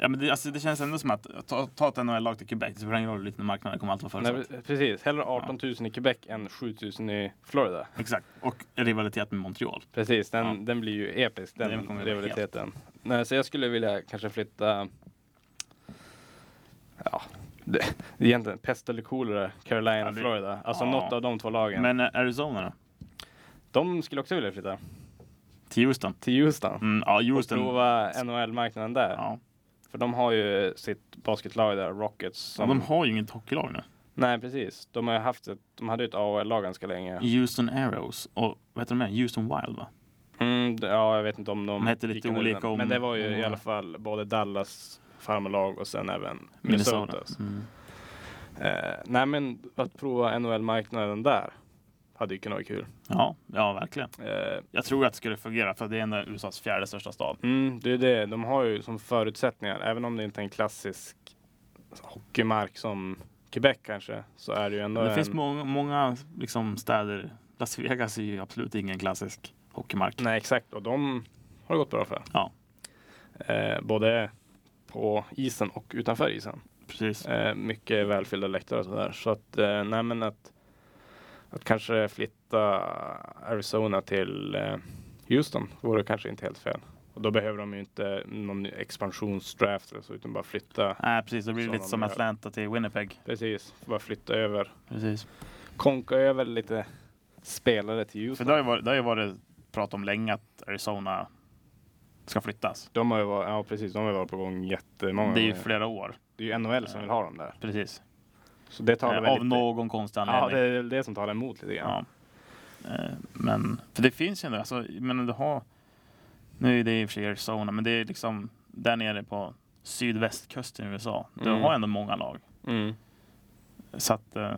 B: Ja, men det, alltså, det känns ändå som att ta, ta ett NHL-lag till Quebec, det spelar ingen roll hur liten marknad det kommer alltid vara
C: nej,
B: förutsatt.
C: precis. Hellre 18 000 i Quebec än 7 000 i Florida.
B: Exakt. Och rivalitet med Montreal.
C: Precis, den,
B: Ja.
C: den blir ju episk den,
B: Den kommer bli
C: rivaliteten. Nej, så jag skulle vilja kanske flytta, ja, det, det är egentligen pest eller kolera, Carolina
B: Ja,
C: och
B: det-
C: Florida. Alltså
B: ja.
C: något av de två lagen.
B: Men eh, Arizona då?
C: de skulle också vilja flytta
B: Till Houston?
C: till Houston.
B: Mm, ja,
C: och
B: Houston.
C: prova NHL-marknaden där.
B: Ja.
C: För de har ju sitt basketlag där, Rockets.
B: Ja,
C: Som...
B: de har ju inget hockeylag nu.
C: Nej, precis. De har ju haft ett, de hade ju ett AHL-lag ganska länge.
B: Houston Arrows och vad heter de mer? Houston Wild va?
C: Mm, d- ja, jag vet inte om de...
B: De hette lite
C: gick under
B: olika
C: den.
B: om-
C: Men det var ju
B: om-
C: i alla fall både Dallas farmarlag och sen även
B: Minnesota.
C: Minnesota.
B: Mm.
C: Eh, nej men att prova NHL-marknaden där hade ju kunnat vara kul.
B: Ja, ja, verkligen.
C: Eh,
B: Jag tror att det skulle fungera för det är ändå USAs fjärde största stad.
C: mm, det är det, de har ju som förutsättningar, även om det inte är en klassisk hockeymark som Quebec kanske, så är det ju ändå
B: Men eh, det
C: en...
B: finns många, många liksom, städer. Las Vegas är ju absolut ingen klassisk hockeymark.
C: Nej, exakt. Och de har det gått bra för.
B: Ja.
C: Eh, både på isen och utanför isen.
B: Precis.
C: Eh, mycket välfyllda läktare och sådär. Så att, eh, nej men att, att kanske flytta Arizona till eh, Houston vore kanske inte helt fel. Och då behöver de ju inte någon ny expansionsdraft eller så, utan bara flytta.
B: Nej, precis. Det blir
C: Så
B: lite
C: de
B: som
C: gör.
B: Atlanta till Winnipeg.
C: Precis, bara flytta över.
B: Precis.
C: Konka över lite spelare till
B: För
C: Houston.
B: det har ju varit, det har ju varit prat om länge att Arizona ska flyttas.
C: De har ju varit, ja precis, de har ju varit på gång jättemånga
B: Det är ju
C: gånger.
B: flera år.
C: Det är ju NHL som vill ha dem där.
B: Precis.
C: Så det
B: Eh,
C: talar väl
B: Av
C: lite-
B: någon konstig
C: Ja,
B: anledning.
C: det är väl det som talar emot lite grann.
B: Ja. Eh, Men, för det finns ju ändå, alltså, men du har, nu är det i och för sig Arizona, men det är liksom där nere på sydvästkusten i USA. Du
C: Mm.
B: har ändå många lag.
C: Mm.
B: Så att, eh,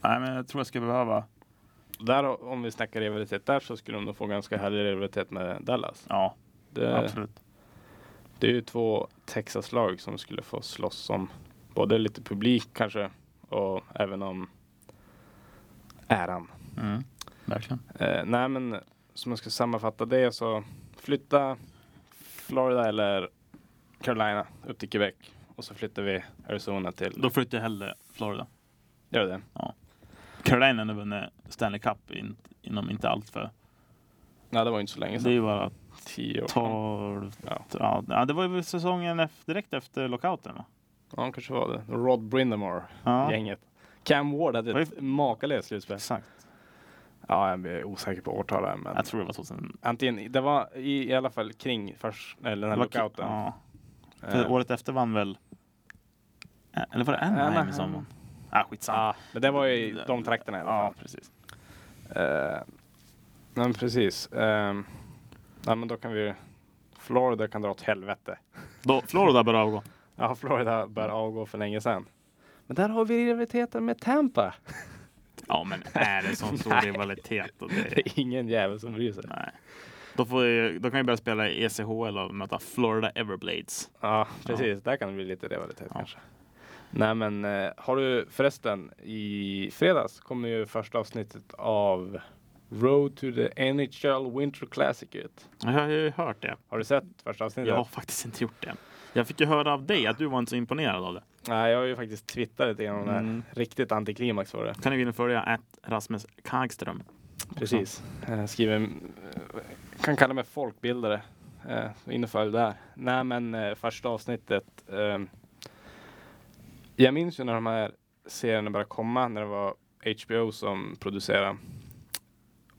B: nej men jag tror jag skulle behöva,
C: Där, om vi snackar rivalitet där så skulle de nog få ganska härlig rivalitet med Dallas.
B: ja Eh.
C: Det,
B: absolut.
C: det är ju två Texas-lag som skulle få slåss om både lite publik kanske och även om äran.
B: Mm. Verkligen.
C: Eh, nej men som jag ska sammanfatta det så flytta Florida eller Carolina upp till Quebec och så flyttar vi Arizona till...
B: Då flyttar jag hellre Florida.
C: Gör det?
B: Carolina har vunnit Stanley Cup in, inom inte allt för,
C: Nej, det var ju inte så länge
B: det är
C: sedan.
B: ju bara
C: Tio år sedan.
B: 12,
C: Ja.
B: ja. ja det var ju säsongen efter, direkt efter lockouten va?
C: Ja, de kanske var det. Rod Brindamore.
B: Ja,
C: gänget. Cam Ward hade
B: Vad
C: ett makalöst slutspel.
B: exakt.
C: Ja, jag är osäker på årtalet, men
B: Jag tror det var 2000.
C: antingen, det var i, i alla fall kring först, eller den här
B: Det var ki-
C: lockouten.
B: Ja.
C: Eh,
B: För året efter vann väl... Ä- Eller var det Anaheim
C: Anaheim.
B: som vann? Ah, skitsamma.
C: ja, men det var ju i de trakterna i alla
B: Ja,
C: fall.
B: precis.
C: Eh, men precis. Ehm, nej, men då kan vi Florida kan dra åt helvete.
B: Då, Florida bör avgå.
C: Ja, Florida bör avgå för länge sedan. Men där har vi rivaliteten med Tampa. (laughs)
B: Ja, men är det sån stor
C: Nej.
B: rivalitet? Och
C: Det
B: det...
C: är ingen jävel som bryr sig.
B: Nej. Då, får vi, då kan vi börja spela i E ECHL och möta Florida Everblades.
C: Ja, precis. Där kan det bli lite rivalitet
B: Ja.
C: kanske. Nej, men eh, har du förresten i fredags kommer ju första avsnittet av Road to the NHL Winter Classic ut.
B: Jag har ju hört det.
C: Har du sett första avsnittet?
B: Jag har faktiskt inte gjort det. Jag fick ju höra av dig att du var inte så imponerad av det.
C: Nej, jag har ju faktiskt twittrat lite grann om det
B: Mm.
C: här. Riktigt antiklimax var det.
B: Kan ni gå in och följa att Rasmus Kagström.
C: Precis. Eh, skriver, eh, kan kalla mig folkbildare. Eh, så in och följ där. Nej men eh, första avsnittet. Eh, jag minns ju när de här serierna började komma, när det var HBO som producerade.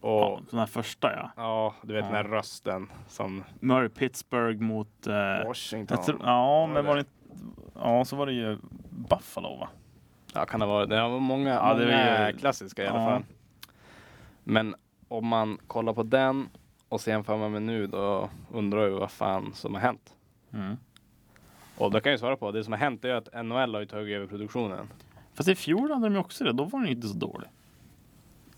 C: Och
B: Ja,
C: ja,
B: den här första ja.
C: du vet den här rösten som
B: Murray Pittsburgh mot... eh,
C: Washington.
B: Jag tror, ja,
C: Var
B: men
C: det
B: var det Ja, så var det ju Buffalo va?
C: Ja, kan det vara. Det var många,
B: Ja, det
C: många
B: var ju-
C: klassiska i alla
B: Ja.
C: fall. Men om man kollar på den och sen jämför man med nu, då undrar jag vad fan som har hänt. Mm. Och det kan jag ju svara på. Det som har hänt är att NHL har ju tagit över produktionen.
B: Fast i fjol hade de ju också det. Då var den ju inte så dålig.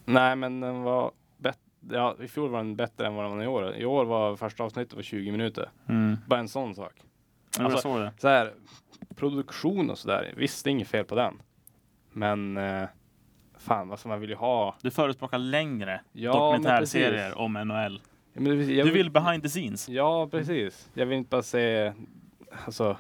C: Nej, men den var bättre. Ja, i fjol var den bättre än vad den var i år. I år var första avsnittet var 20 minuter. Bara en sån sak.
B: Jag
C: Mm. Alltså-
B: såg det.
C: Så här, produktion och sådär. Visst, det är inget fel på den. Men eh, fan, alltså man vill ju ha.
B: Du förespråkar längre
C: Ja,
B: dokumentärserier
C: men
B: om NHL.
C: Ja, men det- jag
B: Du vill behind the scenes.
C: Ja, precis. Jag vill inte bara se, alltså,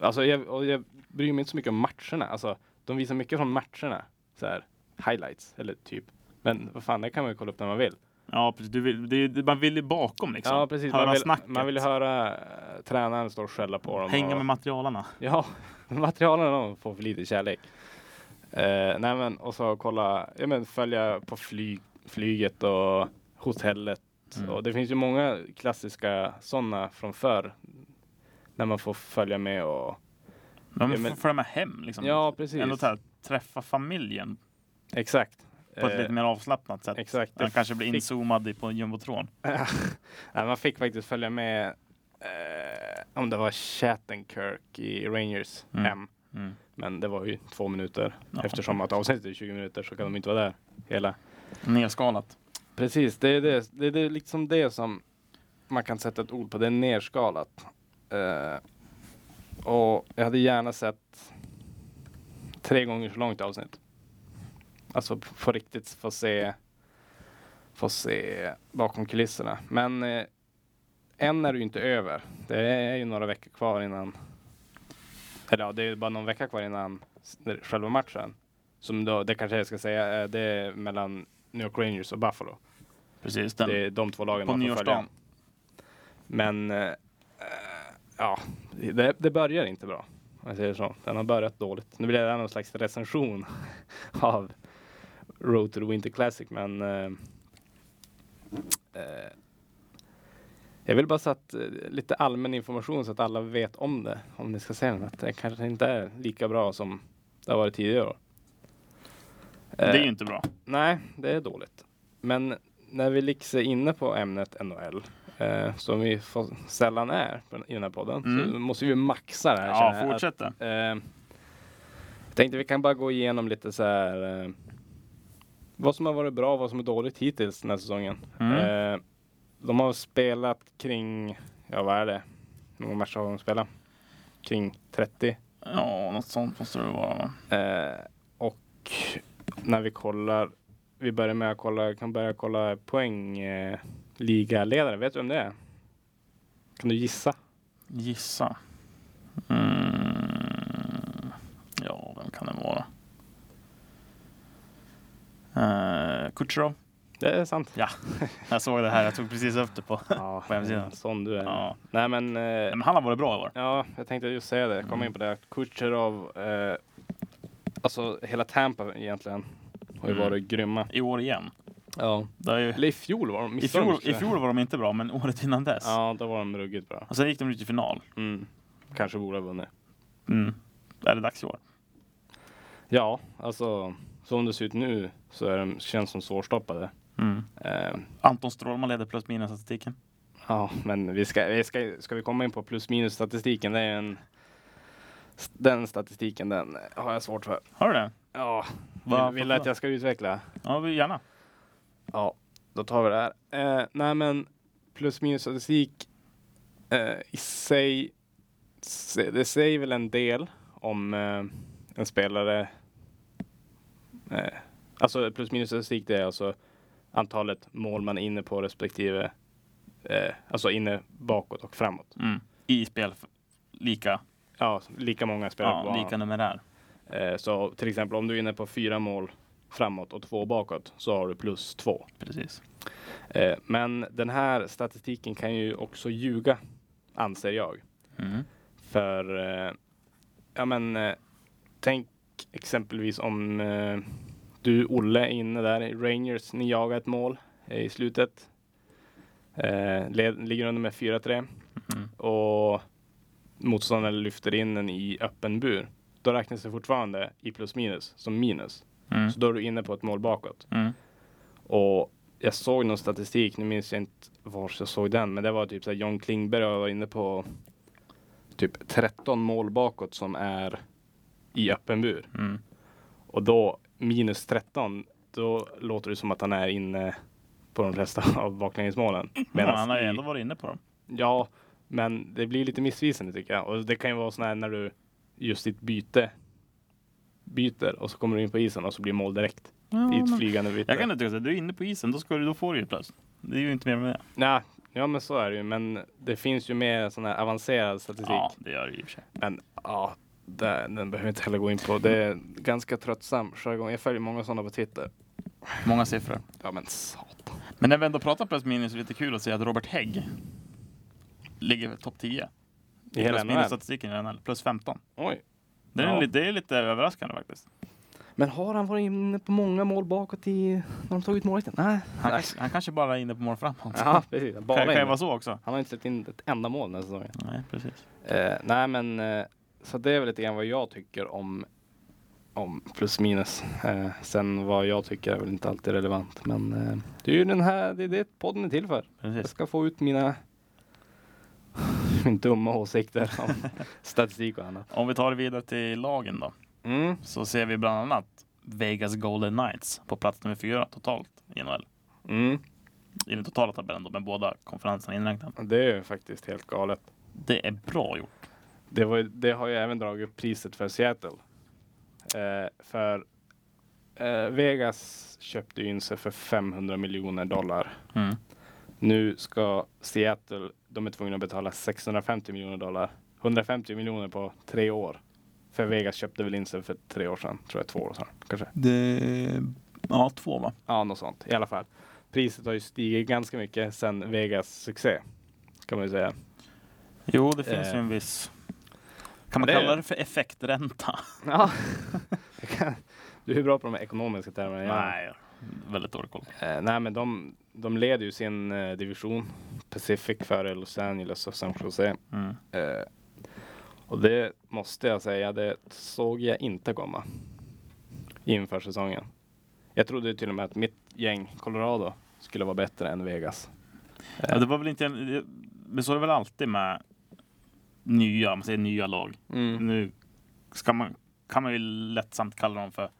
C: alltså jag, och jag bryr mig inte så mycket om matcherna. Alltså, de visar mycket från matcherna, så här, highlights eller typ. Men vad fan, det kan man ju kolla upp när man vill.
B: Ja, precis. Du vill, det, är ju- man vill ju bakom liksom.
C: Ja, precis.
B: Höra
C: Man vill,
B: snacket.
C: man vill höra eh, tränaren stå och skälla på dem.
B: Hänga
C: och,
B: med materialarna.
C: Ja, (laughs) materialen de får för lite kärlek. Eh, nej men, och så kolla, ja men följa på flyg, flyget och hotellet.
B: Mm.
C: Och det finns ju många klassiska sådana från förr. När man får följa med och...
B: De
C: Ja,
B: ja,
C: men-
B: får följa med hem liksom.
C: Ja, precis.
B: Ändå så här, träffa familjen
C: Exakt.
B: på ett
C: Eh,
B: lite mer avslappnat sätt.
C: Exakt.
B: Man kanske blir
C: fick-
B: inzoomad i- på en jumbotron.
C: Nej, man fick faktiskt följa med eh, om det var Chattenkirk i Rangers
B: Mm.
C: M.
B: Mm.
C: Men det var ju två minuter.
B: Ja.
C: Eftersom att avsnittet är 20 minuter så kan de inte vara där hela.
B: Nerskalat.
C: Precis, det är, det, det är det liksom det som man kan sätta ett ord på. Det är nerskalat. Eh, och jag hade gärna sett tre gånger så långt avsnitt. Alltså p- på riktigt få se, få se bakom kulisserna. Men eh, än är det ju inte över. Det är ju några veckor kvar innan. Eller ja, det är ju bara någon vecka kvar innan s- själva matchen. Som då, det kanske jag ska säga, eh, det är mellan New York Rangers och Buffalo.
B: Precis, den.
C: Det är de två lagen
B: på
C: man får följa.
B: nyårsdagen.
C: Men eh, eh, ja, det, det börjar inte bra. Om jag säger så. Den har börjat dåligt. Nu blir det här någon slags recension (laughs) av Road to the Winter Classic, men eh, eh, jag vill bara så att eh, lite allmän information så att alla vet om det. Om ni ska se den, att det kanske inte är lika bra som det har varit tidigare år.
B: Det är
C: Eh,
B: ju inte bra.
C: Nej, det är dåligt. Men när vi liksom är inne på ämnet NHL, eh, som vi får sällan är på, i den här podden, så
B: Mm.
C: måste vi maxa det här. känner
B: Ja,
C: jag.
B: fortsätt det.
C: Att, eh, jag tänkte vi kan bara gå igenom lite så här eh, vad som har varit bra och vad som är dåligt hittills den här säsongen.
B: Mm.
C: Eh, de har spelat kring, ja vad är det? Hur många matcher har de spelat? Kring 30.
B: Ja, något sånt måste det vara. Va?
C: Eh, och när vi kollar, vi börjar med att kolla, kan börja kolla poäng, eh, ligaledare. Vet du vem det är? Kan du gissa?
B: Gissa. Mm. Ja, vem kan det vara? Eh, Kutjerov.
C: Det
B: (laughs)
C: är sant.
B: Jag såg det här, jag tog precis efter
C: (laughs)
B: på.
C: Ja,
B: På hemsidan.
C: Sån du är.
B: Ja.
C: Nej men,
B: Nej,
C: eh,
B: Men han har varit bra i år.
C: ja, jag tänkte just säga det. Kom in på det. Kucherov, eh, alltså hela Tampa egentligen har ju
B: Mm.
C: varit grymma.
B: I år igen.
C: Ja.
B: Det är ju...
C: Eller i fjol var de
B: I,
C: missade de
B: fjol,
C: också.
B: I fjol var de inte bra, men året innan dess.
C: Ja, då var de ruggigt bra.
B: Och sen gick de ut i final.
C: Mm. Kanske borde ha vunnit.
B: Mm. Är det dags i år?
C: Ja, alltså som det ser ut nu så är de, känns de svårstoppade.
B: Mm.
C: Eh,
B: Anton Strålman leder plus minus statistiken.
C: ja, men vi ska, vi ska, ska vi komma in på plus minus statistiken? Det är en, den statistiken den har jag svårt för.
B: Har du det?
C: Ja,
B: Varför
C: vill, vill du att
B: då?
C: jag ska utveckla?
B: Ja, vi- gärna.
C: Ja, då tar vi det här. Eh, nej, men plus minus statistik eh, i sig, se- det säger väl en del om eh, en spelare. Eh, alltså plus minus statistik, det är alltså antalet mål man är inne på respektive, eh, alltså inne bakåt och framåt.
B: Mm. I spel f- lika,
C: Ja, lika många spelare på
B: ja,
C: banan.
B: lika numerär.
C: Eh, så till exempel om du är inne på fyra mål framåt och två bakåt så har du plus två.
B: Precis.
C: Eh, Men den här statistiken kan ju också ljuga, anser jag.
B: Mm.
C: För, eh, ja men, eh, tänk exempelvis om eh, du, Olle, är inne där i Rangers, ni jagar ett mål eh, i slutet. Eh, Led, ligger under med 4-3
B: Mm.
C: och motståndaren lyfter in den i öppen bur. Då räknas det fortfarande i plus minus som minus.
B: Mm.
C: Så då är du inne på ett mål bakåt.
B: Mm.
C: Och jag såg någon statistik, nu minns jag inte var jag såg den, men det var typ så här John Klingberg och jag var inne på typ 13 mål bakåt som är i öppen bur.
B: Mm.
C: Och då minus 13, då låter det som att han är inne på de flesta (laughs) av baklängesmålen.
B: Men
C: Medans
B: han har ju
C: i-
B: ändå varit inne på dem.
C: Ja, men det blir lite missvisande tycker jag. Och det kan ju vara sån här när du just ditt byte byter och så kommer du in på isen och så blir mål direkt i ett flygande byte.
B: jag kan inte tycka att du är inne på isen, då, ska du, då får du ju plus. Det är ju inte mer med det.
C: Nej, ja men så är det ju. Men det finns ju mer sån här avancerad statistik.
B: Ja, det gör det i och för sig.
C: Men ja, det, den behöver vi inte heller gå in på. Det är ganska tröttsam jargong. Jag följer många sådana på Twitter.
B: Många siffror.
C: Ja men satan.
B: Men när vi ändå pratar plus minus är det lite kul att se att Robert Hägg ligger topp 10.
C: I hela
B: plus minus
C: NHL.
B: statistiken i NHL, plus 15.
C: Oj.
B: Det är,
C: Ja.
B: lite, det är lite överraskande faktiskt.
C: Men har han varit inne på många mål bakåt i när de tagit målvakten? Nej.
B: Han, kanske, han kanske bara är inne på mål framåt.
C: Ja, precis.
B: Kan- kan
C: Bara
B: ju
C: inne.
B: vara så också.
C: Han har inte släppt in ett enda mål den här säsongen.
B: Nej, precis.
C: Eh, nej men, eh, så det är väl lite grann vad jag tycker om, om plus minus. Eh, sen vad jag tycker är väl inte alltid relevant. Men eh, det är ju den här, det är det podden är till för. Jag
B: precis.
C: ska få ut mina, min dumma åsikter om statistik och annat.
B: Om vi tar det vidare till lagen då.
C: Mm.
B: Så ser vi bland annat Vegas Golden Knights på plats nummer fyra totalt i NHL.
C: Mm.
B: I den totala tabellen då, med båda konferenserna inräknade.
C: Det är ju faktiskt helt galet.
B: Det är bra gjort.
C: Det, var, ju- det har ju även dragit upp priset för Seattle. Eh, för eh, Vegas köpte ju in sig för 500 miljoner dollar.
B: Mm.
C: Nu ska Seattle, de är tvungna att betala 650 miljoner dollar. 150 miljoner på tre år. För Vegas köpte väl in sig för tre år sedan, tror jag två år sedan kanske.
B: Det... Ja, två va?
C: Ja, något sånt i alla fall. Priset har ju stigit ganska mycket sedan Vegas succé. Kan man ju säga.
B: Jo, det finns
C: Eh.
B: ju en viss... Kan man
C: Det-
B: kalla det för effektränta?
C: Ja. Jag kan- (laughs) du är bra på de ekonomiska termerna. jag-
B: Nej, väldigt dålig koll.
C: Eh, nej, men de, de leder ju sin eh, division. Pacific före Los Angeles och San Jose.
B: Mm.
C: Eh, och det måste jag säga, det såg jag inte komma inför säsongen. Jag trodde ju till och med att mitt gäng, Colorado, skulle vara bättre än Vegas.
B: Ja, det var väl inte en... det- Men så är det väl alltid med nya, om man säger nya lag. Mm.
C: Mm.
B: Nu ska man, kan man ju lättsamt kalla dem för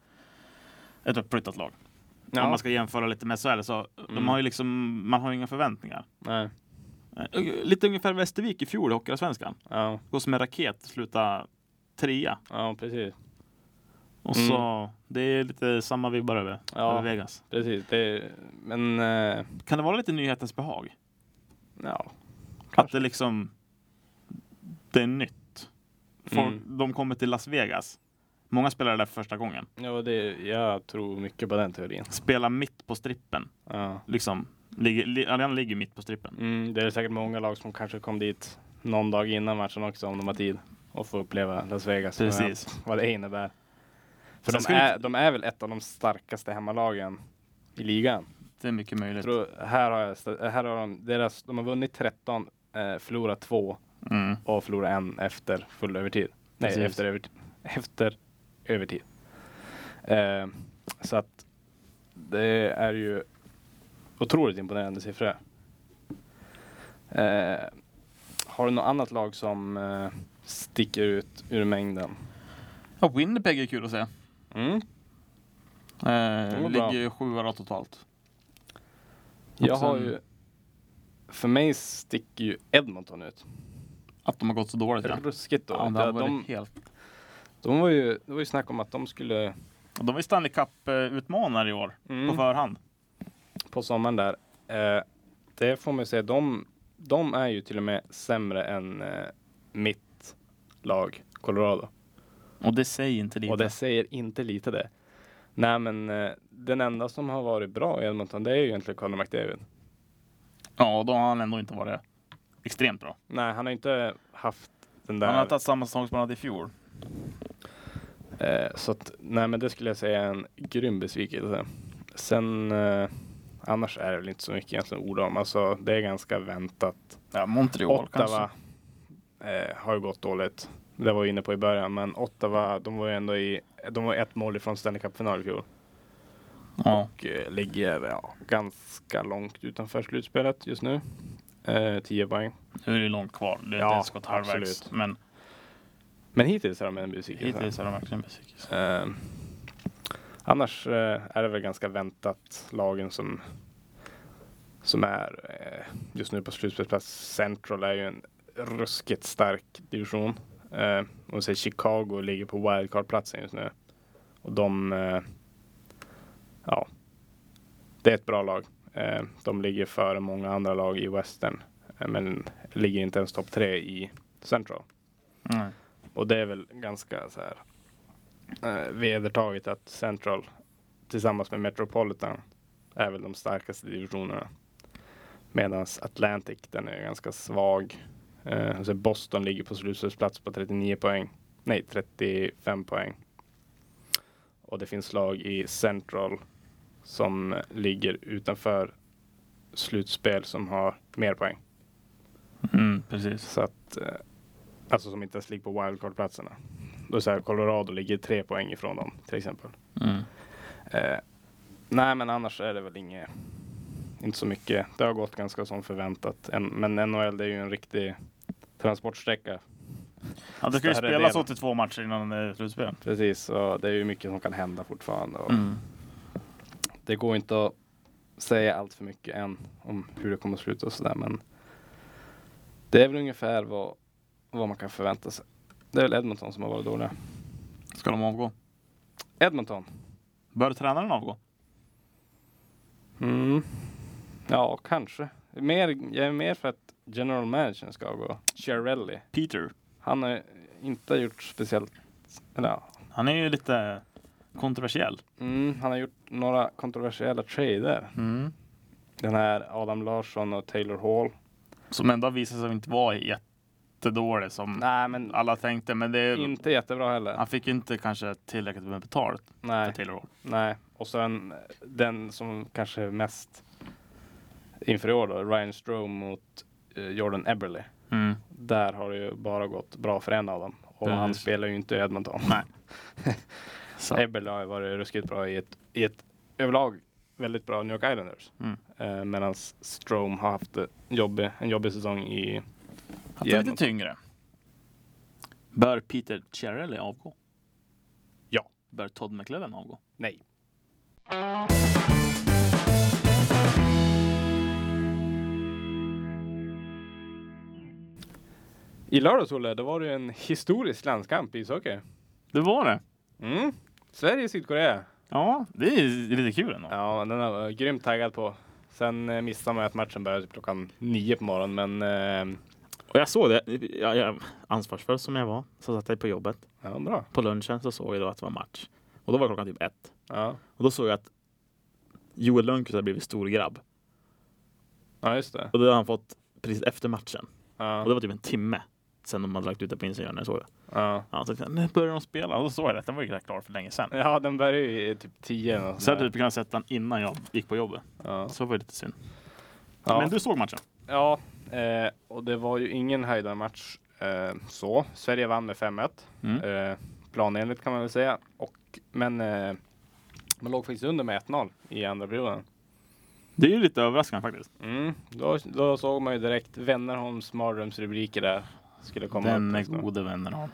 B: ett uppflyttat lag. Om
C: Ja,
B: man ska jämföra lite med SHL så de
C: Mm.
B: har ju liksom, man har ju inga förväntningar.
C: nej.
B: Eh, Lite ungefär Västervik i fjol i Hockeyallsvenskan.
C: Ja,
B: Går som en raket, sluta trea.
C: ja, precis.
B: Och så, det är lite samma vibbar över,
C: Mm. Ja.
B: över Vegas.
C: precis. Det, men eh,
B: Kan det vara lite nyhetens behag?
C: ja,
B: Att det liksom Det är nytt. Folk,
C: Mm.
B: De kommer till Las Vegas. Många spelar där för första gången.
C: ja det, jag tror mycket på den teorin.
B: Spelar mitt på strippen.
C: Ja.
B: Liksom, ligger, li, arenan ligger mitt på strippen.
C: Mm, det är säkert många lag som kanske kom dit någon dag innan matchen också om de har tid och får uppleva Las Vegas. och
B: Precis.
C: Vad det innebär. För
B: Sen
C: de
B: skulle
C: är, de är väl ett av de starkaste hemmalagen i ligan.
B: Det är mycket
C: Jag
B: möjligt.
C: tror, här har jag, sta- här har de, deras, de har vunnit 13, eh, förlorat 2
B: Mm.
C: och förlorat en efter full övertid. Nej,
B: Precis.
C: efter övertid. Efter övertid. Eh, så att det är ju otroligt imponerande siffror. Eh, har du något annat lag som eh, sticker ut ur mängden?
B: Ja, Winnipeg är kul att se.
C: Mm.
B: Eh,
C: var bra.
B: ligger sjua då totalt.
C: Jag
B: Och sen-
C: har ju, för mig sticker ju Edmonton ut.
B: Att de har gått så dåligt. Ja.
C: Ruskigt då.
B: Ja, det
C: de,
B: har varit
C: de,
B: helt...
C: de var ju, det var ju snack om att de skulle
B: Och De var ju Stanley Cup-utmanare i år.
C: Mm.
B: På förhand.
C: på sommaren där. Eh, det får man ju säga, de, de är ju till och med sämre än eh, mitt lag Colorado.
B: Och det säger inte lite.
C: Och det säger inte lite det. Nej men eh, den enda som har varit bra i Edmonton det är ju egentligen Connor McDavid.
B: Ja, och då har han ändå inte varit extremt bra.
C: Nej han har inte haft den där.
B: Han har inte haft samma säsong som han hade i fjol.
C: Eh, så att, nej men det skulle jag säga är en grym besvikelse. Sen eh, annars är det väl inte så mycket egentligen ord om. Alltså det är ganska väntat.
B: Ja, Montreal
C: Ottawa eh, har ju gått dåligt. Det var jag inne på i början, men Ottawa, de var ju ändå i, de var ett mål ifrån Stanley Cup-final i fjol
B: Ja.
C: och eh, ligger ja, ganska långt utanför slutspelet just nu. Eh, 10 poäng.
B: Nu är det långt kvar. Det är
C: Ja,
B: inte ens gått halvvägs.
C: absolut.
B: Men
C: Men hittills är de en besvikelse.
B: hittills är de verkligen besvikelse.
C: Eh, annars eh, är det väl ganska väntat lagen som som är eh, just nu på slutspelsplats. Central är ju en ruskigt stark division. Eh, och så Chicago ligger på wildcard-platsen just nu. Och de, eh, ja, det är ett bra lag. Eh, de ligger före många andra lag i Western, eh, men ligger inte ens topp tre i Central.
B: Mm.
C: Och det är väl ganska så här eh, vedertaget att Central tillsammans med Metropolitan är väl de starkaste divisionerna. Medan Atlantic den är ganska svag. Eh, och så Boston ligger på slutspelsplats på 39 poäng. Nej, 35 poäng. Och det finns lag i Central som ligger utanför slutspel som har mer poäng.
B: Mm, precis.
C: Så att, eh, alltså som inte ens ligger på wildcard-platserna. Då är så här, Colorado ligger tre poäng ifrån dem till exempel.
B: Mm.
C: Eh, nej, men annars är det väl inget, inte så mycket. Det har gått ganska som förväntat. En, men NHL det är ju en riktig transportsträcka.
B: Ja, det ska ju
C: Större
B: spelas
C: delen.
B: 82 matcher innan eh, det är slutspel.
C: Precis, och det är ju mycket som kan hända fortfarande. Och
B: Mm.
C: Det går inte att säga allt för mycket än om hur det kommer att sluta och sådär, men det är väl ungefär vad, vad man kan förvänta sig. Det är väl Edmonton som har varit dåliga.
B: Ska de avgå?
C: Edmonton.
B: Bör tränaren avgå?
C: Mm. Ja, kanske. Mer, jag är mer för att general managern ska gå. Chiarelli.
B: Peter.
C: Han har inte gjort speciellt... Eller, ja.
B: Han är ju lite kontroversiell.
C: mm, han har gjort några kontroversiella trader.
D: Mm.
C: Den här Adam Larsson och Taylor Hall.
B: Som ändå visar sig inte vara jättedålig som
C: Nej, men
B: alla tänkte. Men det är,
C: inte jättebra heller.
B: han fick ju inte kanske tillräckligt med betalt för
C: Nej,
B: Taylor Hall.
C: nej. Och sen eh, den som kanske är mest inför i år då, Ryan Strome mot eh, Jordan Eberle.
B: Mm.
C: Där har det ju bara gått bra för en av dem. Och han
B: Precis.
C: spelar ju inte i Edmonton.
D: (laughs)
B: Nej. Så.
C: Eberle har ju varit ruskigt bra i ett, i ett överlag väldigt bra New York Islanders.
B: Mm.
C: Eh, Medan Strome har haft det jobbig, en jobbig säsong i...
B: Han är lite tyngre. Bör Peter Chiarelli avgå?
C: Ja.
B: Bör Todd McLellan avgå?
C: Nej. I lördags, Olle, då var det ju en historisk landskamp i ishockey.
B: Det var det.
C: Mm. Sverige-Sydkorea.
B: Ja, det är lite kul ändå.
C: Ja, den har jag grymt taggad på. Sen eh, missade man ju att matchen började typ klockan nio på morgonen, men eh,
D: Och jag såg det, jag, jag, ansvarsfull som jag var, så satt jag på jobbet.
C: ja, bra.
D: På lunchen så såg jag då att det var match. Och då var klockan typ ett.
C: Ja,
D: Och då såg jag att Joel Lönnqvist hade blivit stor grabb.
C: ja just det.
D: Och det hade han fått precis efter matchen. Och det
C: Ja,
D: var typ en timme sen de hade lagt ut det på Instagram när jag såg det.
C: ja.
D: Ja, så tänkte jag, nu
B: liksom, Nu börjar de spela och då såg jag det. Den var ju rätt klar för länge sedan.
C: ja den började ju i typ tio. eller något
B: Så jag
C: sånt
B: hade
C: där.
B: typ kunnat sett den innan jag gick på jobbet.
C: Ja.
B: Så var det lite synd.
C: Ja.
B: Men du såg matchen?
C: Ja, eh, och det var ju ingen höjdarmatch eh, så. Sverige vann med 5-1.
B: Mm.
C: Eh, planenligt kan man väl säga. Och, men eh, man låg faktiskt under med 1-0 i andra perioden.
B: Det är ju lite överraskande faktiskt.
C: Mm. Då, då såg man ju direkt Wennerholms mardrömsrubriker där. Skulle komma
B: Den är
C: upp. liksom.
B: gode vännen har.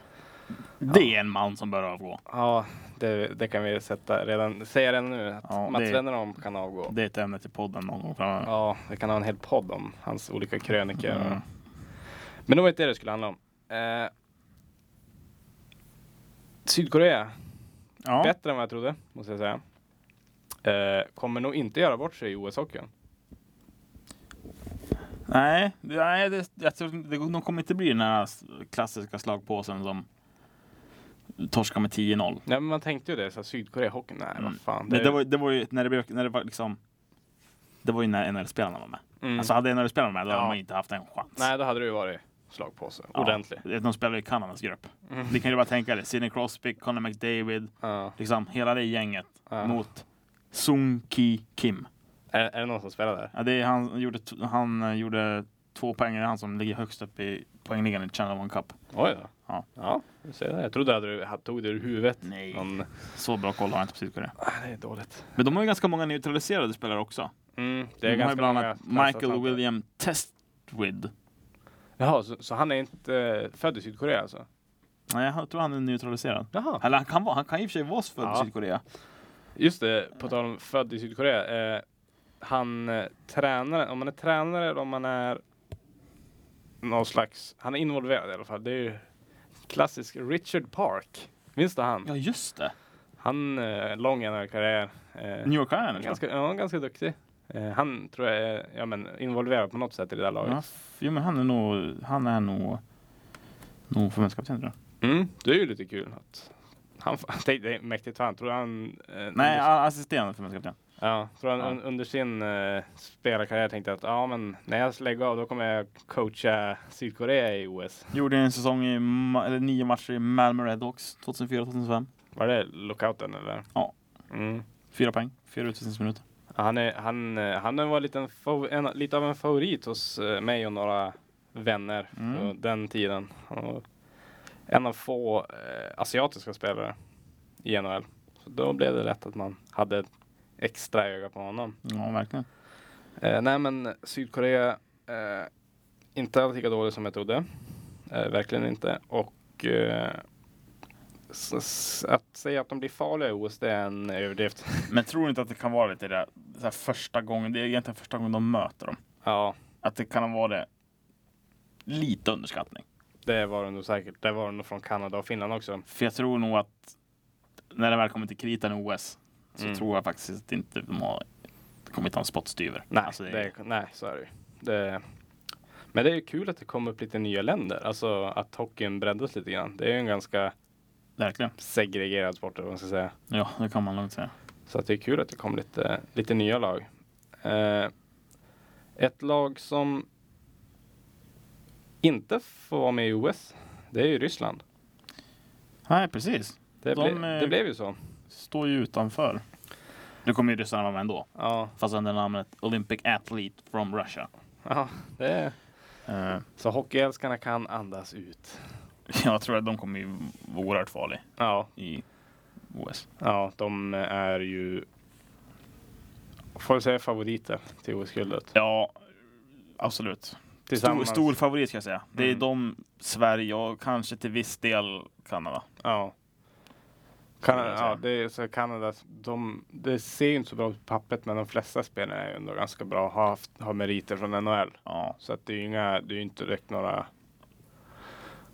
B: Det är en man som bör avgå.
C: Ja, det, det kan vi sätta redan, säga redan nu. Att
B: Ja,
C: Mats
B: det-
C: Wennerholm kan avgå.
B: Det är ett ämne till podden någon gång framöver.
C: Ja, vi kan ha en hel podd om hans olika krönikor.
B: Mm.
C: Men det var inte det det skulle handla om. Eh, Sydkorea,
B: Ja.
C: bättre än vad jag trodde, måste jag säga. Eh, kommer nog inte göra bort sig i OS-hockeyn.
B: Nej, det- nej det, jag tror, inte- det, de kommer inte bli den här klassiska slagpåsen som torskar med 10-0.
C: Nej, men man tänkte ju det, så här, Sydkorea-hockeyn, nej
B: Mm.
C: vad fan.
B: Det, det, var, det var ju när det, blev- när det var liksom det var ju när NHL-spelarna var med.
C: mm.
B: Alltså hade NHL-spelarna med, då hade
C: Ja.
B: man inte haft en chans.
C: Nej, då hade det ju varit slagpåse,
B: Ja.
C: ordentlig.
B: De spelar ju i Kanadas grupp.
C: Mm.
B: Ni kan ju bara tänka det. Sidney Crosby, Connor McDavid,
C: Ja,
B: liksom hela det gänget
C: ja.
B: mot Sung Ki Kim.
C: Är, är det någon som spelar där?
B: Ja, det är, han, gjorde, t- han eh, gjorde två poäng. Det är han som ligger högst upp i poängligan i Channel One Cup.
C: Oj då.
B: Ja.
C: ja du ser det. jag trodde att du hade- tog det ur huvudet.
B: Nej.
C: Men,
B: Så bra koll har jag inte på Sydkorea.
C: ah, det är dåligt.
B: Men de har ju ganska många neutraliserade spelare också.
C: Mm,
B: De
C: det är
B: har ju
C: ganska
B: bland
C: många
B: annat Michael
C: transatlanter.
B: William Testwid.
C: Jaha, så, så han är inte eh, född i Sydkorea alltså?
B: Nej, jag tror han är neutraliserad.
C: Jaha.
B: Eller han kan, vara, han kan i och för sig vara född i
C: Ja.
B: Sydkorea.
C: Just det, på tal om född i Sydkorea. Eh, han eh, tränare, om man är tränare eller om man är någon slags, han är involverad i alla fall. Det är ju klassisk Richard Park. Minns du han?
B: Ja, just det.
C: Han, eh, lång NHL-karriär. Eh,
B: New York Islanders.
C: ganska, ja, ganska duktig. Eh, han tror jag är ja, men, involverad på något sätt i det där
B: Ja,
C: laget.
B: f- jo, men han är nog, han är nog, nog förbundskapten tror jag.
C: Mm, det är ju lite kul. Att han, (laughs) f- det är mäktigt för han. Tror han eh,
B: Nej, a- assisterande förbundskapten.
C: Ja, för han,
B: Ja.
C: un- under sin uh, spelarkarriär tänkte jag att ja, men när jag lägger av då kommer jag coacha Sydkorea i OS.
B: Gjorde en säsong i, ma- eller nio matcher i Malmö Redhawks 2004-2005.
C: Var det lockouten eller?
B: Ja.
C: Mm.
B: Fyra poäng, fyra utvisningsminuter.
C: Ja, Han, är, han, eh, han var en liten fav- en, lite av en favorit hos eh, mig och några vänner
B: Mm.
C: på den tiden. Han var en av få eh, asiatiska spelare i NHL. Så då blev det lätt att man hade ett extra öga på honom.
B: Ja, verkligen.
C: Eh, nej, men Sydkorea eh, inte alls lika dålig som jag trodde. Eh, verkligen inte. Och eh, s- s- att säga att de blir farliga i OS, det är en överdrift. (laughs)
B: Men tror du inte att det kan vara lite det så här första gången, det är egentligen första gången de möter dem.
C: Ja,
B: Att det kan vara det lite underskattning.
C: det var det nog säkert. Det var det nog från Kanada och Finland också.
B: För jag tror nog att när det väl kommer till kritan i OS så
C: Mm.
B: tror jag faktiskt inte de har det kommer inte ha en spottstyver.
C: Nej,
B: Alltså, det-
C: det, nej så är det ju. Det, men det är ju kul att det kommer upp lite nya länder. Alltså att hockeyn breddas lite grann. Det är ju en ganska
B: Verkligen.
C: segregerad sport, eller vad man ska säga.
B: Ja, det kan man lugnt säga.
C: Så att det är kul att det kom lite, lite nya lag. Eh, ett lag som inte får vara med i OS, det är ju Ryssland.
B: Nej, precis.
C: Det,
B: De,
C: ble,
B: eh,
C: det blev ju så.
B: Står ju utanför. Nu kommer ju ryssarna vara med ändå.
C: Ja,
B: Fast under namnet Olympic Athlete from Russia.
C: ja det är.
B: Eh,
C: Så hockeyälskarna kan andas ut.
B: jag tror att de kommer ju vara oerhört farliga
C: Ja,
B: i OS.
C: ja de är ju, får jag säga favoriter till OS-guldet.
B: Ja, absolut. Stor,
C: Tillsammans.
B: stor favorit ska jag säga. Det är
C: Mm.
B: de, Sverige och kanske till viss del Kanada.
C: Ja.
B: Kan jag
C: Kanada,
B: säga.
C: ja, det är så Kanada, de, det ser ju inte så bra ut på pappret, men de flesta spelarna är ju ändå ganska bra och har, haft, har meriter från NHL.
B: Ja,
C: Så att det är ju inga, det är ju inte direkt några,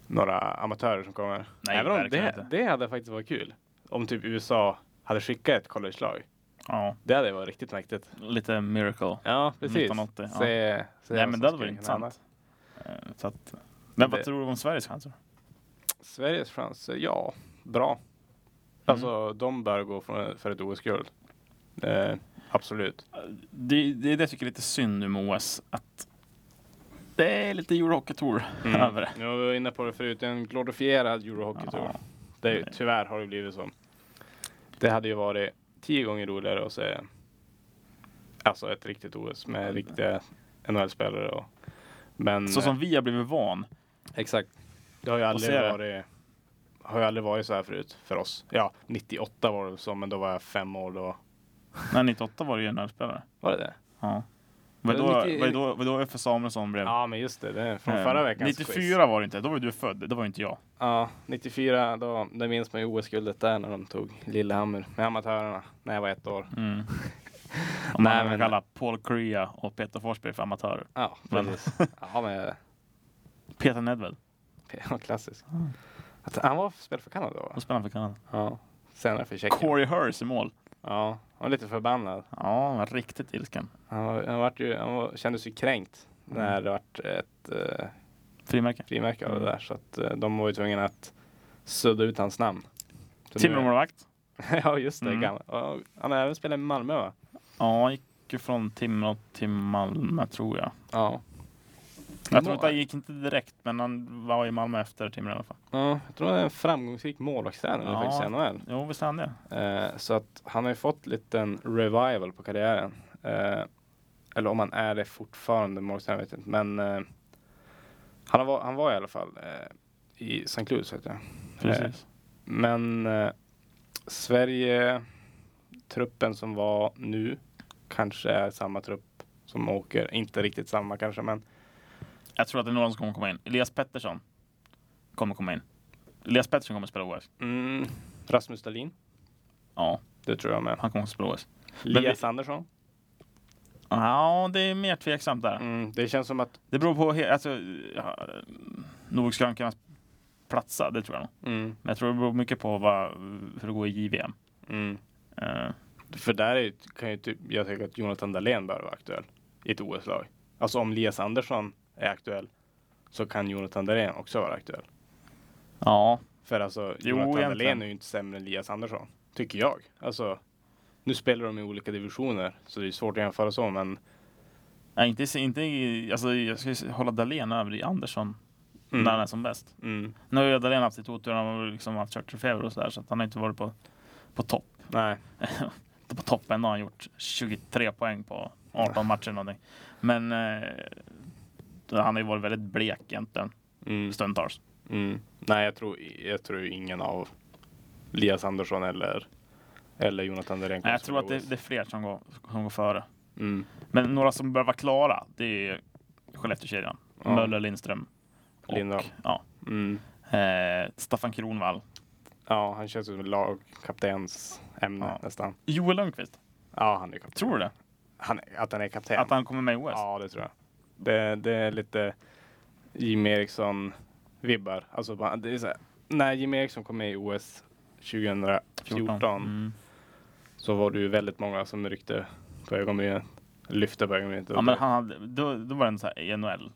C: några amatörer som kommer.
B: Nej,
C: Även om
B: verkligen
C: det,
B: inte.
C: det hade faktiskt varit kul. Om typ USA hade skickat ett collegelag.
B: ja.
C: Det hade varit riktigt mäktigt.
B: lite miracle.
C: Ja, precis.
B: 1980, ja.
C: Se, se
B: Nej
C: vad
B: men
C: som
B: det hade
C: skulle
B: varit
C: kunna hända.
B: intressant. Eh, Så att, men vad
C: Det-
B: tror du om Sveriges chanser?
C: Sveriges chanser, ja,
B: Mm.
C: bra. Alltså, de bör gå för, för ett OS-guld. Eh, absolut.
B: Det, det är det jag tycker är lite synd nu med OS. Att det är lite Eurohockey-tour (laughs) över det.
C: Nu var vi inne på det förut, en glorifierad Eurohockey Tour.
B: Ja.
C: Det är, ju- tyvärr har det blivit så. Det hade ju varit tio gånger roligare att se alltså ett riktigt OS med riktiga NHL-spelare. Och, men eh,
B: Så som vi har blivit van.
C: exakt. Det har ju
B: Och se
C: aldrig
B: det.
C: varit har ju aldrig varit så här förut för oss. Ja, 98 var det så, men då var jag fem år då.
B: När 98 var det ju NHL-spelare.
C: Var det det?
B: Ja. Vad är
C: Men
B: då,
C: 90
B: vad är då, vad är då F. Samuelsson blev?
C: Ja, men just det. Det är från
B: eh,
C: förra veckans
B: 94
C: quiz.
B: var det inte, då var ju du född. Det var ju inte jag.
C: Ja, 94, då, det minns man ju OS-guldet där när de tog Lillehammer med amatörerna när jag var ett år. (laughs)
B: Mm. (laughs) Om man
C: Nej,
B: kan
C: men-
B: kalla Paul Korea och Peter Forsberg för amatörer.
C: Ja,
B: Men- (laughs)
C: precis. ja, men
B: Peter Nedved,
C: ja, klassisk.
B: Ah.
C: Att han var spelare för Kanada då? va?
B: då spelar han för Kanada.
C: Ja. Senare för Tjeckien.
B: Corey Hurst i mål.
C: Ja, han var lite förbannad.
B: Ja, han var riktigt ilsken.
C: Han, var, han, vart ju, han var, kändes ju kränkt
B: Mm.
C: när det vart ett eh,
B: Frimärke.
C: frimärke av det
B: Mm.
C: där. Så att eh, de var ju tvungna att sudda ut hans namn. Så nu-
B: Timmermålvakt.
C: (laughs) ja, just det.
B: Mm.
C: gamla- och Han har även spelat i Malmö va?
B: Ja, han gick ju från Timrå till Malmö tror jag.
C: Ja.
B: Jag tror inte han gick inte direkt, men han var i Malmö efter Timrå i alla fall.
C: Ja, jag tror han är en framgångsrik målvaktstränare
B: Ja.
C: faktiskt i NHL.
B: Jo, visst är han det.
C: Eh, så att han har ju fått lite en revival på karriären. Eh, eller om han är det fortfarande, målvaktstränare vet jag inte. Men eh, han, var, han var i alla fall eh, i St. Louis vet jag.
B: Precis.
C: Men eh, Sverige, truppen som var nu, kanske är samma trupp som åker. Inte riktigt samma kanske, men
B: Jag tror att det är någon som kommer komma in. Elias Pettersson kommer komma in. Elias Pettersson kommer spela OS.
C: mm, Rasmus Dahlin,
B: Ja,
C: det tror jag med.
B: han kommer spela OS. vi-
C: Elias Andersson.
B: Ja, det är mer tveksamt där.
C: Mm, det känns som att
B: Det beror på, he- alltså, ja, nog ska han kunna platsa, det tror jag nog.
C: mm,
B: Men jag tror det beror mycket på vad, hur det går i JVM.
C: mm,
B: Eh,
C: För där är, ju- kan ju typ, jag tycka att Jonathan Dahlén bör vara aktuell i ett OS-lag. Alltså om Elias Andersson är aktuell så kan Jonathan Dahlén också vara aktuell.
B: ja,
C: För alltså
B: Jo,
C: Jonathan
B: egentligen.
C: Dahlén är ju inte sämre än Elias Andersson, tycker jag. Alltså, nu spelar de i olika divisioner så det är svårt att jämföra så, men
B: nej, inte, i- inte i- alltså, jag ska ju hålla Dahlén över i Andersson
C: mm,
B: när han är som bäst.
C: Mm,
B: Nu har ju Dahlén haft sitt otur, han har väl liksom haft kört feber och sådär, så att han har inte varit på, på topp.
C: nej,
B: på toppen har han gjort 23 poäng på 18 matcher någonting. Men eh, han har ju varit väldigt blek egentligen
C: mm,
B: stundtals.
C: mm. nej, jag tror, jag tror ingen av Elias Andersson eller, eller Jonathan Dahlén
B: Nej,
C: kommer
B: jag tror att
C: spela i
B: det, det är fler som går, som går före.
C: OS. mm.
B: Men några som bör vara klara, det är Skellefteåkedjan.
C: Ja.
B: Möller, Lindström,
C: Lindahl.
B: ja.
C: Mm.
B: eh, Staffan Kronvall.
C: Ja, han känns som lagkaptens ämne
B: Ja.
C: nästan.
B: Joel Lundqvist.
C: Ja, han är kapten.
B: Tror du det?
C: Han, att han är kapten?
B: Att han kommer med i OS?
C: Ja, det tror jag. Det, det är lite Jim Eriksson-vibbar. Alltså, bara- det är så här, när Jim Eriksson kom med i OS 2014
B: Mm.
C: så var det ju väldigt många som ryckte på ögonbrynen. Lyfte på ögonbrynet.
B: Ja, men han hade, då, då var det en så här NHL.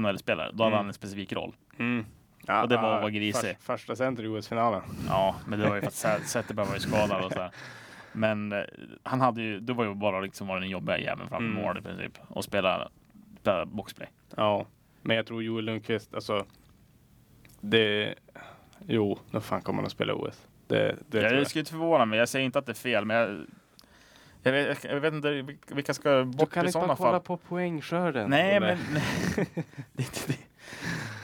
B: NHL-spelare, då hade
C: Mm.
B: han en specifik roll.
C: Mm. Ja,
B: Och det var att
C: ja,
B: vara grisig.
C: förs- Första center i OS-finalen.
B: Ja, men det var ju för att
C: (laughs)
B: Zä- Zetterberg var ju skadad och så här. Men eh, han hade ju, då var ju bara liksom var den jobbiga jäveln framför
C: Mm.
B: mål i princip och spelade, spelade boxplay.
C: Ja, men jag tror Joel Lundqvist, alltså. Det... Jo, när fan kommer han att spela OS? Det, det tror
B: jag
C: jag.
B: skulle inte förvåna mig. Jag säger inte att det är fel, men jag, jag, vet, jag vet inte vil- vilka ska
C: Du
B: bort
C: kan
B: i
C: inte
B: sådana
C: bara
B: fall.
C: kolla på poängskörden.
B: Nej,
C: Olle.
B: men
C: (laughs)
B: det, är inte det.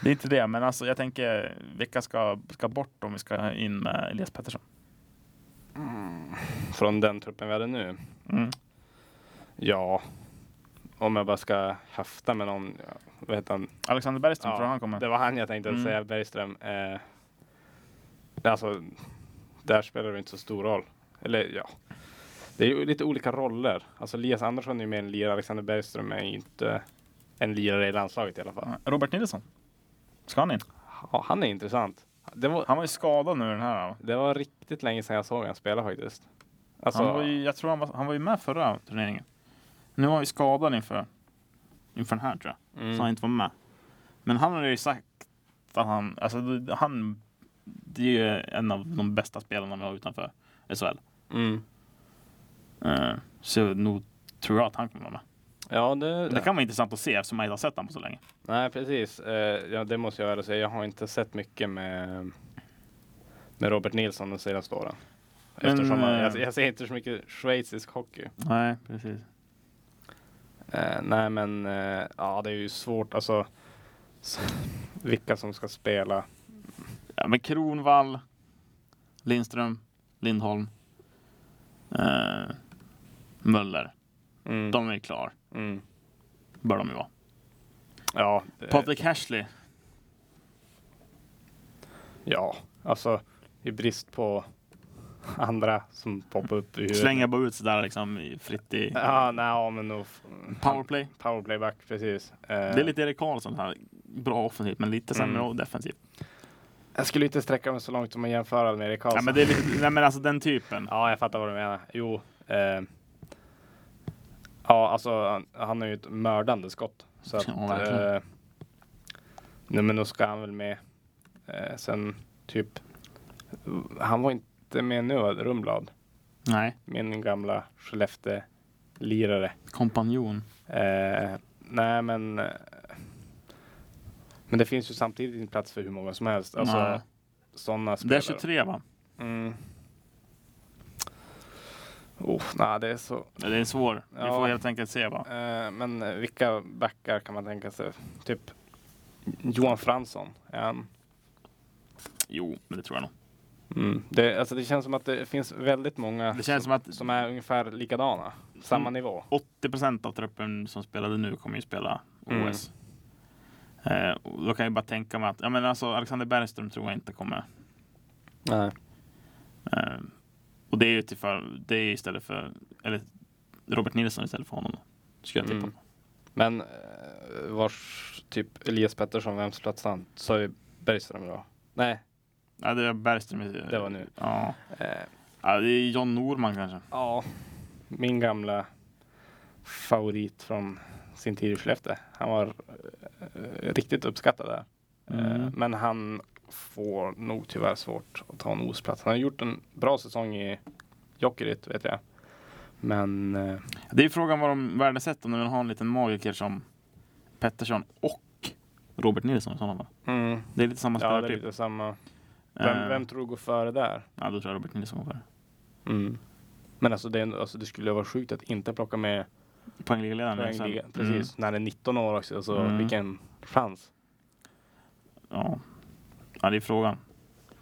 B: det är inte det. Men alltså, jag tänker vilka ska, ska bort om vi ska ha in med Elias Pettersson?
C: Från den truppen vi hade nu?
B: Mm.
C: Ja. Om jag bara ska höfta med någon. ja, Vad heter han?
B: Alexander Bergström
C: Ja,
B: tror jag han kommer.
C: Det var han jag tänkte
B: Mm.
C: säga, Bergström. Eh, alltså, där spelar det inte så stor roll. Eller ja, det är ju lite olika roller. Alltså Elias Andersson är ju mer en lirare, Alexander Bergström är ju inte en lirare i landslaget i alla fall.
B: Robert Nilsson. Ska han in?
C: Ja, han är intressant. Det var,
B: Han var ju skadad nu den här.
C: det var riktigt länge sedan jag såg han spela faktiskt. Alltså,
B: Han var ju, jag tror han var, han var ju med förra turneringen. Nu var han ju skadad inför, inför den här tror jag.
C: mm,
B: så han inte var med. Men han har ju sagt att han, alltså det- han, det är ju en av de bästa spelarna vi har utanför SHL.
C: mm.
B: Eh, Så nog tror jag att han kommer vara med.
C: Ja, det,
B: Det kan vara intressant att se eftersom man inte har sett honom på så länge.
C: Nej, precis. Eh, ja, det måste jag väl säga. Jag har inte sett mycket med, med Robert Nilsson de senaste åren.
B: Men,
C: Eftersom han, jag,
B: eh,
C: jag ser inte så mycket schweizisk hockey.
B: Nej, precis.
C: Eh, nej, men eh, ja, det är ju svårt. Alltså, s- (laughs) vilka som ska spela.
B: Ja, men Kronvall, Lindström, Lindholm, eh, Möller.
C: Mm,
B: De är ju klar,
C: mm.
B: bör de ju vara.
C: Ja, eh, det-
B: Patrik Hashley,
C: ja, alltså i brist på (laughs) andra som poppar upp i huvudet.
B: slänger bara ut sådär liksom i- fritt i
C: Ja, nej, ja, men nog.
B: powerplay.
C: Powerplayback, precis. Eh,
B: Det är lite Erik Karlsson här. Bra offensivt, men lite sämre
C: Mm.
B: defensivt.
C: Jag skulle inte sträcka mig så långt som att jämföra med Erik Karlsson.
B: Ja, men det är lite, nej, men alltså den typen.
C: Ja, jag fattar vad du menar. Jo. Eh, ja, alltså han, han har ju ett mördande skott. Så att,
B: Ja, verkligen.
C: eh, nej, men då ska han väl med. Eh, sen typ, han var inte med nu, va? Rumblad.
B: Nej,
C: Min gamla Skellefteå-lirare.
B: kompanjon.
C: Eh, nej, men. eh, Men det finns ju samtidigt inte plats för hur många som helst.
B: Nej.
C: Alltså, sådana
B: Det är
C: spelare.
B: 23 va?
C: Mm. Oh, nej, det är så
B: Det är svår. Vi
C: Ja.
B: får helt enkelt se va.
C: Eh, men eh, vilka backar kan man tänka sig? Typ Johan Fransson. är han-
B: Jo, men det tror jag nog.
C: Mm. Det, alltså det känns som att det finns väldigt många
B: Det känns som att
C: som är ungefär likadana. Samma
B: Mm.
C: nivå.
B: 80 procent av truppen som spelade nu kommer ju spela
C: Mm.
B: OS. Eh, och då kan jag bara tänka mig att, ja men alltså Alexander Bergström tror jag inte kommer.
C: Nej.
B: Eh, och det är ju till för, det är ju istället för, eller Robert Nilsson istället för honom. då, Skulle jag tippa
C: Mm.
B: på.
C: Men eh, vars typ Elias Pettersson, vems plats han? Sa vi Bergström då? Nej,
B: Ja, det är Bergström. i-
C: Det var nu.
B: Ja.
C: eh,
B: ja, det är John Norman kanske.
C: ja, min gamla favorit från sin tid i Skellefteå. Han var eh, riktigt uppskattad där. Eh,
B: Mm.
C: Men han får nog tyvärr svårt att ta en OS-plats. Han har gjort en bra säsong i Jokerit vet jag. Men eh,
B: Det är frågan vad de värdesätter om de vill ha en liten magiker som Pettersson och Robert Nilsson i sådana fall.
C: mm,
B: Det är lite samma
C: ja, det är
B: spelartyp.
C: lite samma. Vem,
B: typ, Eh,
C: vem tror du går före där?
B: Ja, då tror jag Robert Nilsson går före. Mm.
C: Men alltså det, är en- alltså det skulle vara sjukt att inte plocka med
B: Poängligaledaren.
C: poängliga.
B: liksom.
C: Precis, när han är 19 år också. Alltså,
B: Mm.
C: Vilken chans.
B: Mm, ja. ja, det är frågan.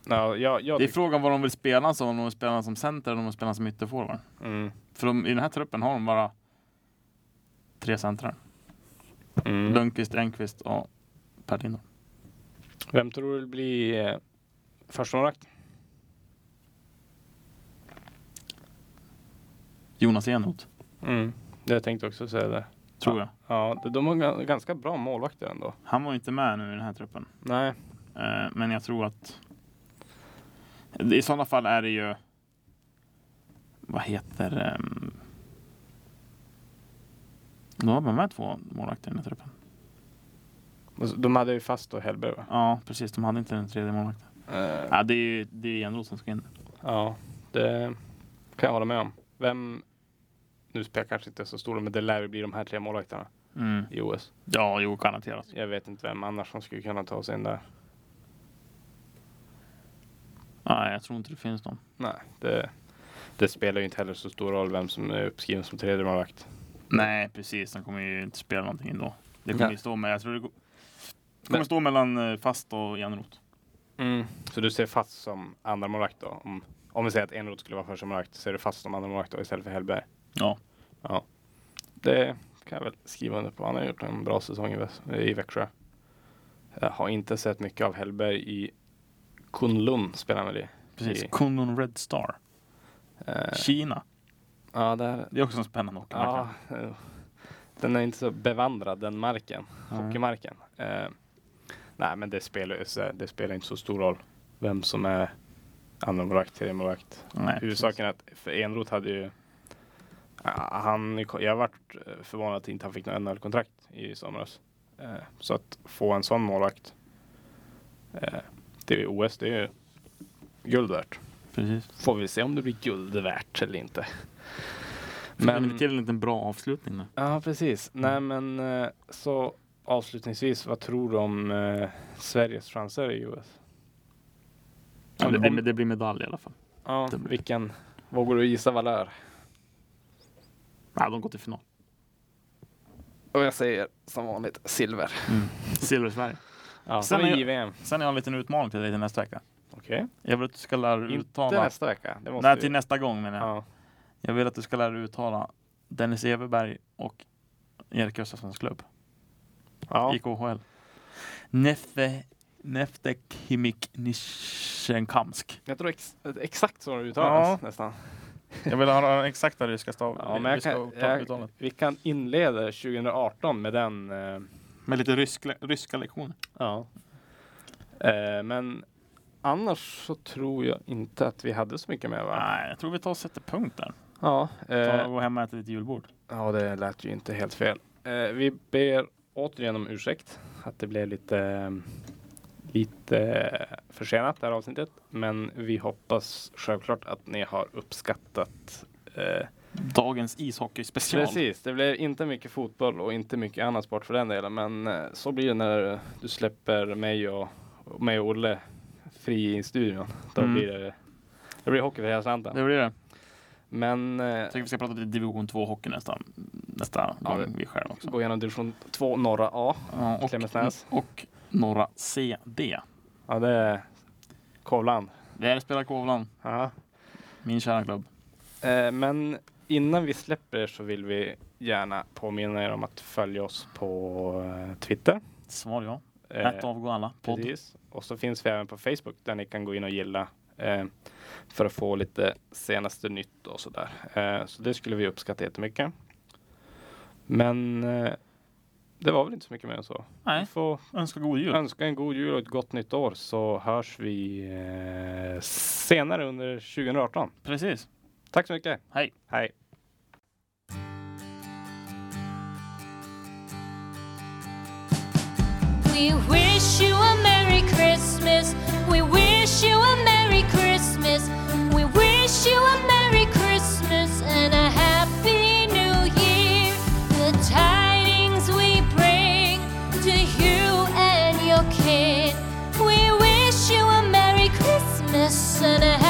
C: Ja, jag, jag
B: Det är
C: tyck-
B: frågan vad de vill spela som. Om de vill spela som center eller om de vill spela som ytterforward.
C: mm,
B: För de, i den här truppen har de bara tre centrar.
C: mm.
B: Lundqvist, Engqvist och Per Lindholm.
C: Vem tror du blir eh, första målvakt?
B: Jonas Enroth,
C: Mm. Jag tänkte också säga det.
B: tror jag.
C: Ja, de- de har ga- ganska bra målvakter ändå.
B: Han var ju inte med nu i den här truppen.
C: Nej.
B: Eh, Men jag tror att i sådana fall är det ju vad heter ehm, då har man med två målvakter i den här truppen.
C: Alltså, De hade ju fast då Hellberg va?
B: Ja, precis. De hade inte den tredje målvakten.
C: Eh,
B: Ja, det är ju det är ju Enroth som ska in.
C: Ja, det kan jag hålla med om. Vem, nu spelar jag kanske inte så stor roll, men det lär ju bli de här tre målvakterna
B: Mm.
C: i OS.
B: Ja, jo, garanterat.
C: Jag vet inte vem annars som skulle kunna ta sig in där.
B: Nej, jag tror inte det finns någon.
C: Nej, det, det spelar ju inte heller så stor roll vem som är uppskriven som tredje målvakt.
B: Nej, precis. De kommer ju inte spela någonting ändå. Det kommer
C: Nej.
B: ju stå med. Jag tror det, går, det kommer
C: Men-
B: stå mellan eh, Fast och Enroth.
C: Mm. Så du ser fast som andra målvakt då? Om, om vi säger att Enroth skulle vara första målvakt, ser du fast som andra målvakt då istället för Hellberg?
B: Ja.
C: Ja, det kan jag väl skriva under på. Han har gjort en bra säsong i, Väs- i Växjö. Jag har inte sett mycket av Hellberg i Kunlun spelar han väl i?
B: Precis.
C: I-
B: Kundun Red Star.
C: Eh,
B: Kina.
C: ja, där.
B: Det är också en spännande hockey.
C: Ja, eh, den är inte så bevandrad den marken,
B: Mm.
C: hockeymarken. Eh, nej, men det spelar, ju så- det spelar inte så stor roll vem som är andra målvakt, tredje målvakt.
B: Nej,
C: Huvudsaken är att för Enroth hade ju Ah, han, jag har varit eh, förvånad att inte han fick något NHL-kontrakt i somras. Eh, Så att få en sån målvakt eh, till OS, det är ju guld värt.
B: precis.
C: Får vi se om det blir guld värt eller inte.
D: Men
C: Men,
D: till en liten bra avslutning nu.
C: ja, precis. Nej, men eh, så avslutningsvis, vad tror du om eh, Sveriges chanser i OS?
D: Ja,
C: Om-
D: det, blir,
C: om-
D: det blir medalj i alla fall.
C: Ja,
D: det blir-
C: vilken? Vågar du gissa Valör?
D: Nej, de går till final.
C: Och jag säger som vanligt silver.
D: Silver Sverige.
C: Ja,
B: Sen
C: som
B: är
C: i
B: jag-
C: JVM.
B: Sen har jag en liten utmaning till dig till nästa vecka.
C: Okej.
B: Jag vill att du ska lära dig
C: Inte
B: uttala...
C: nästa vecka. Det måste
B: Nej,
C: vi-
B: till nästa gång menar jag.
C: ja.
B: Jag vill att du ska lära dig uttala Dennis Everberg och Erik Gustafssons klubb
C: Ja.
B: i KHL. Neffe... Nefte Kimik Nisjenkamsk.
C: Jag tror ex exakt så det uttalas nästan.
B: Jag vill ha den exakta ryska stav,
C: Ja, men jag
B: ryska
C: kan,
B: uttal-
C: jag,
B: uttalet.
C: vi kan inleda 2018 med den. eh,
B: Med lite rysk, ryska lektioner.
C: ja. Eh, men annars så tror jag inte att vi hade så mycket mer va?
B: Nej, jag tror vi tar och sätter punkt där.
C: Ja,
B: Ta
C: eh,
B: och gå hem och äta lite julbord.
C: ja, det lät ju inte helt fel. Eh, vi ber återigen om ursäkt att det blev lite, lite försenat det här avsnittet. Men vi hoppas självklart att ni har uppskattat eh,
B: Dagens ishockeyspecial.
C: Precis, det blev inte mycket fotboll och inte mycket annan sport för den delen. Men eh, så blir det när du släpper mig och, och mig och Olle fri i studion. Då
B: Mm.
C: blir det, det blir hockey för hela slanten.
B: Det blir det.
C: Men eh,
B: Jag tänker vi ska prata lite division 2 hockey nästa, nästa
C: Ja,
B: gång
C: det-
B: vi skär också.
C: gå igenom division 2 norra A.
B: Ja,
C: Klemensnäs.
B: och, och norra CD.
C: Ja, det är Kovland.
B: Det här spelar Kovland,
C: Ja.
B: min kära klubb.
C: Eh, men innan vi släpper så vill vi gärna påminna er om att följa oss på eh, Twitter.
B: Svar ja.
C: Eh,
B: Ett avgå alla. Podd.
C: Precis. Och så finns vi även på Facebook där ni kan gå in och gilla eh, för att få lite senaste nytt och sådär. Eh, så det skulle vi uppskatta jättemycket. Men eh, det var väl inte så mycket mer än så. Vi
B: Nej,
C: får
B: önskar god jul.
C: önska en god jul och ett gott nytt år så hörs vi eh, senare under 2018.
B: Precis.
C: Tack så mycket.
B: Hej.
C: Hej.
E: We wish you a Merry Christmas. We wish you a Merry Christmas. We wish you a Merry Christmas and a Happy New Year. The tidings we bring to you and your kid. We wish you a Merry Christmas and a Happy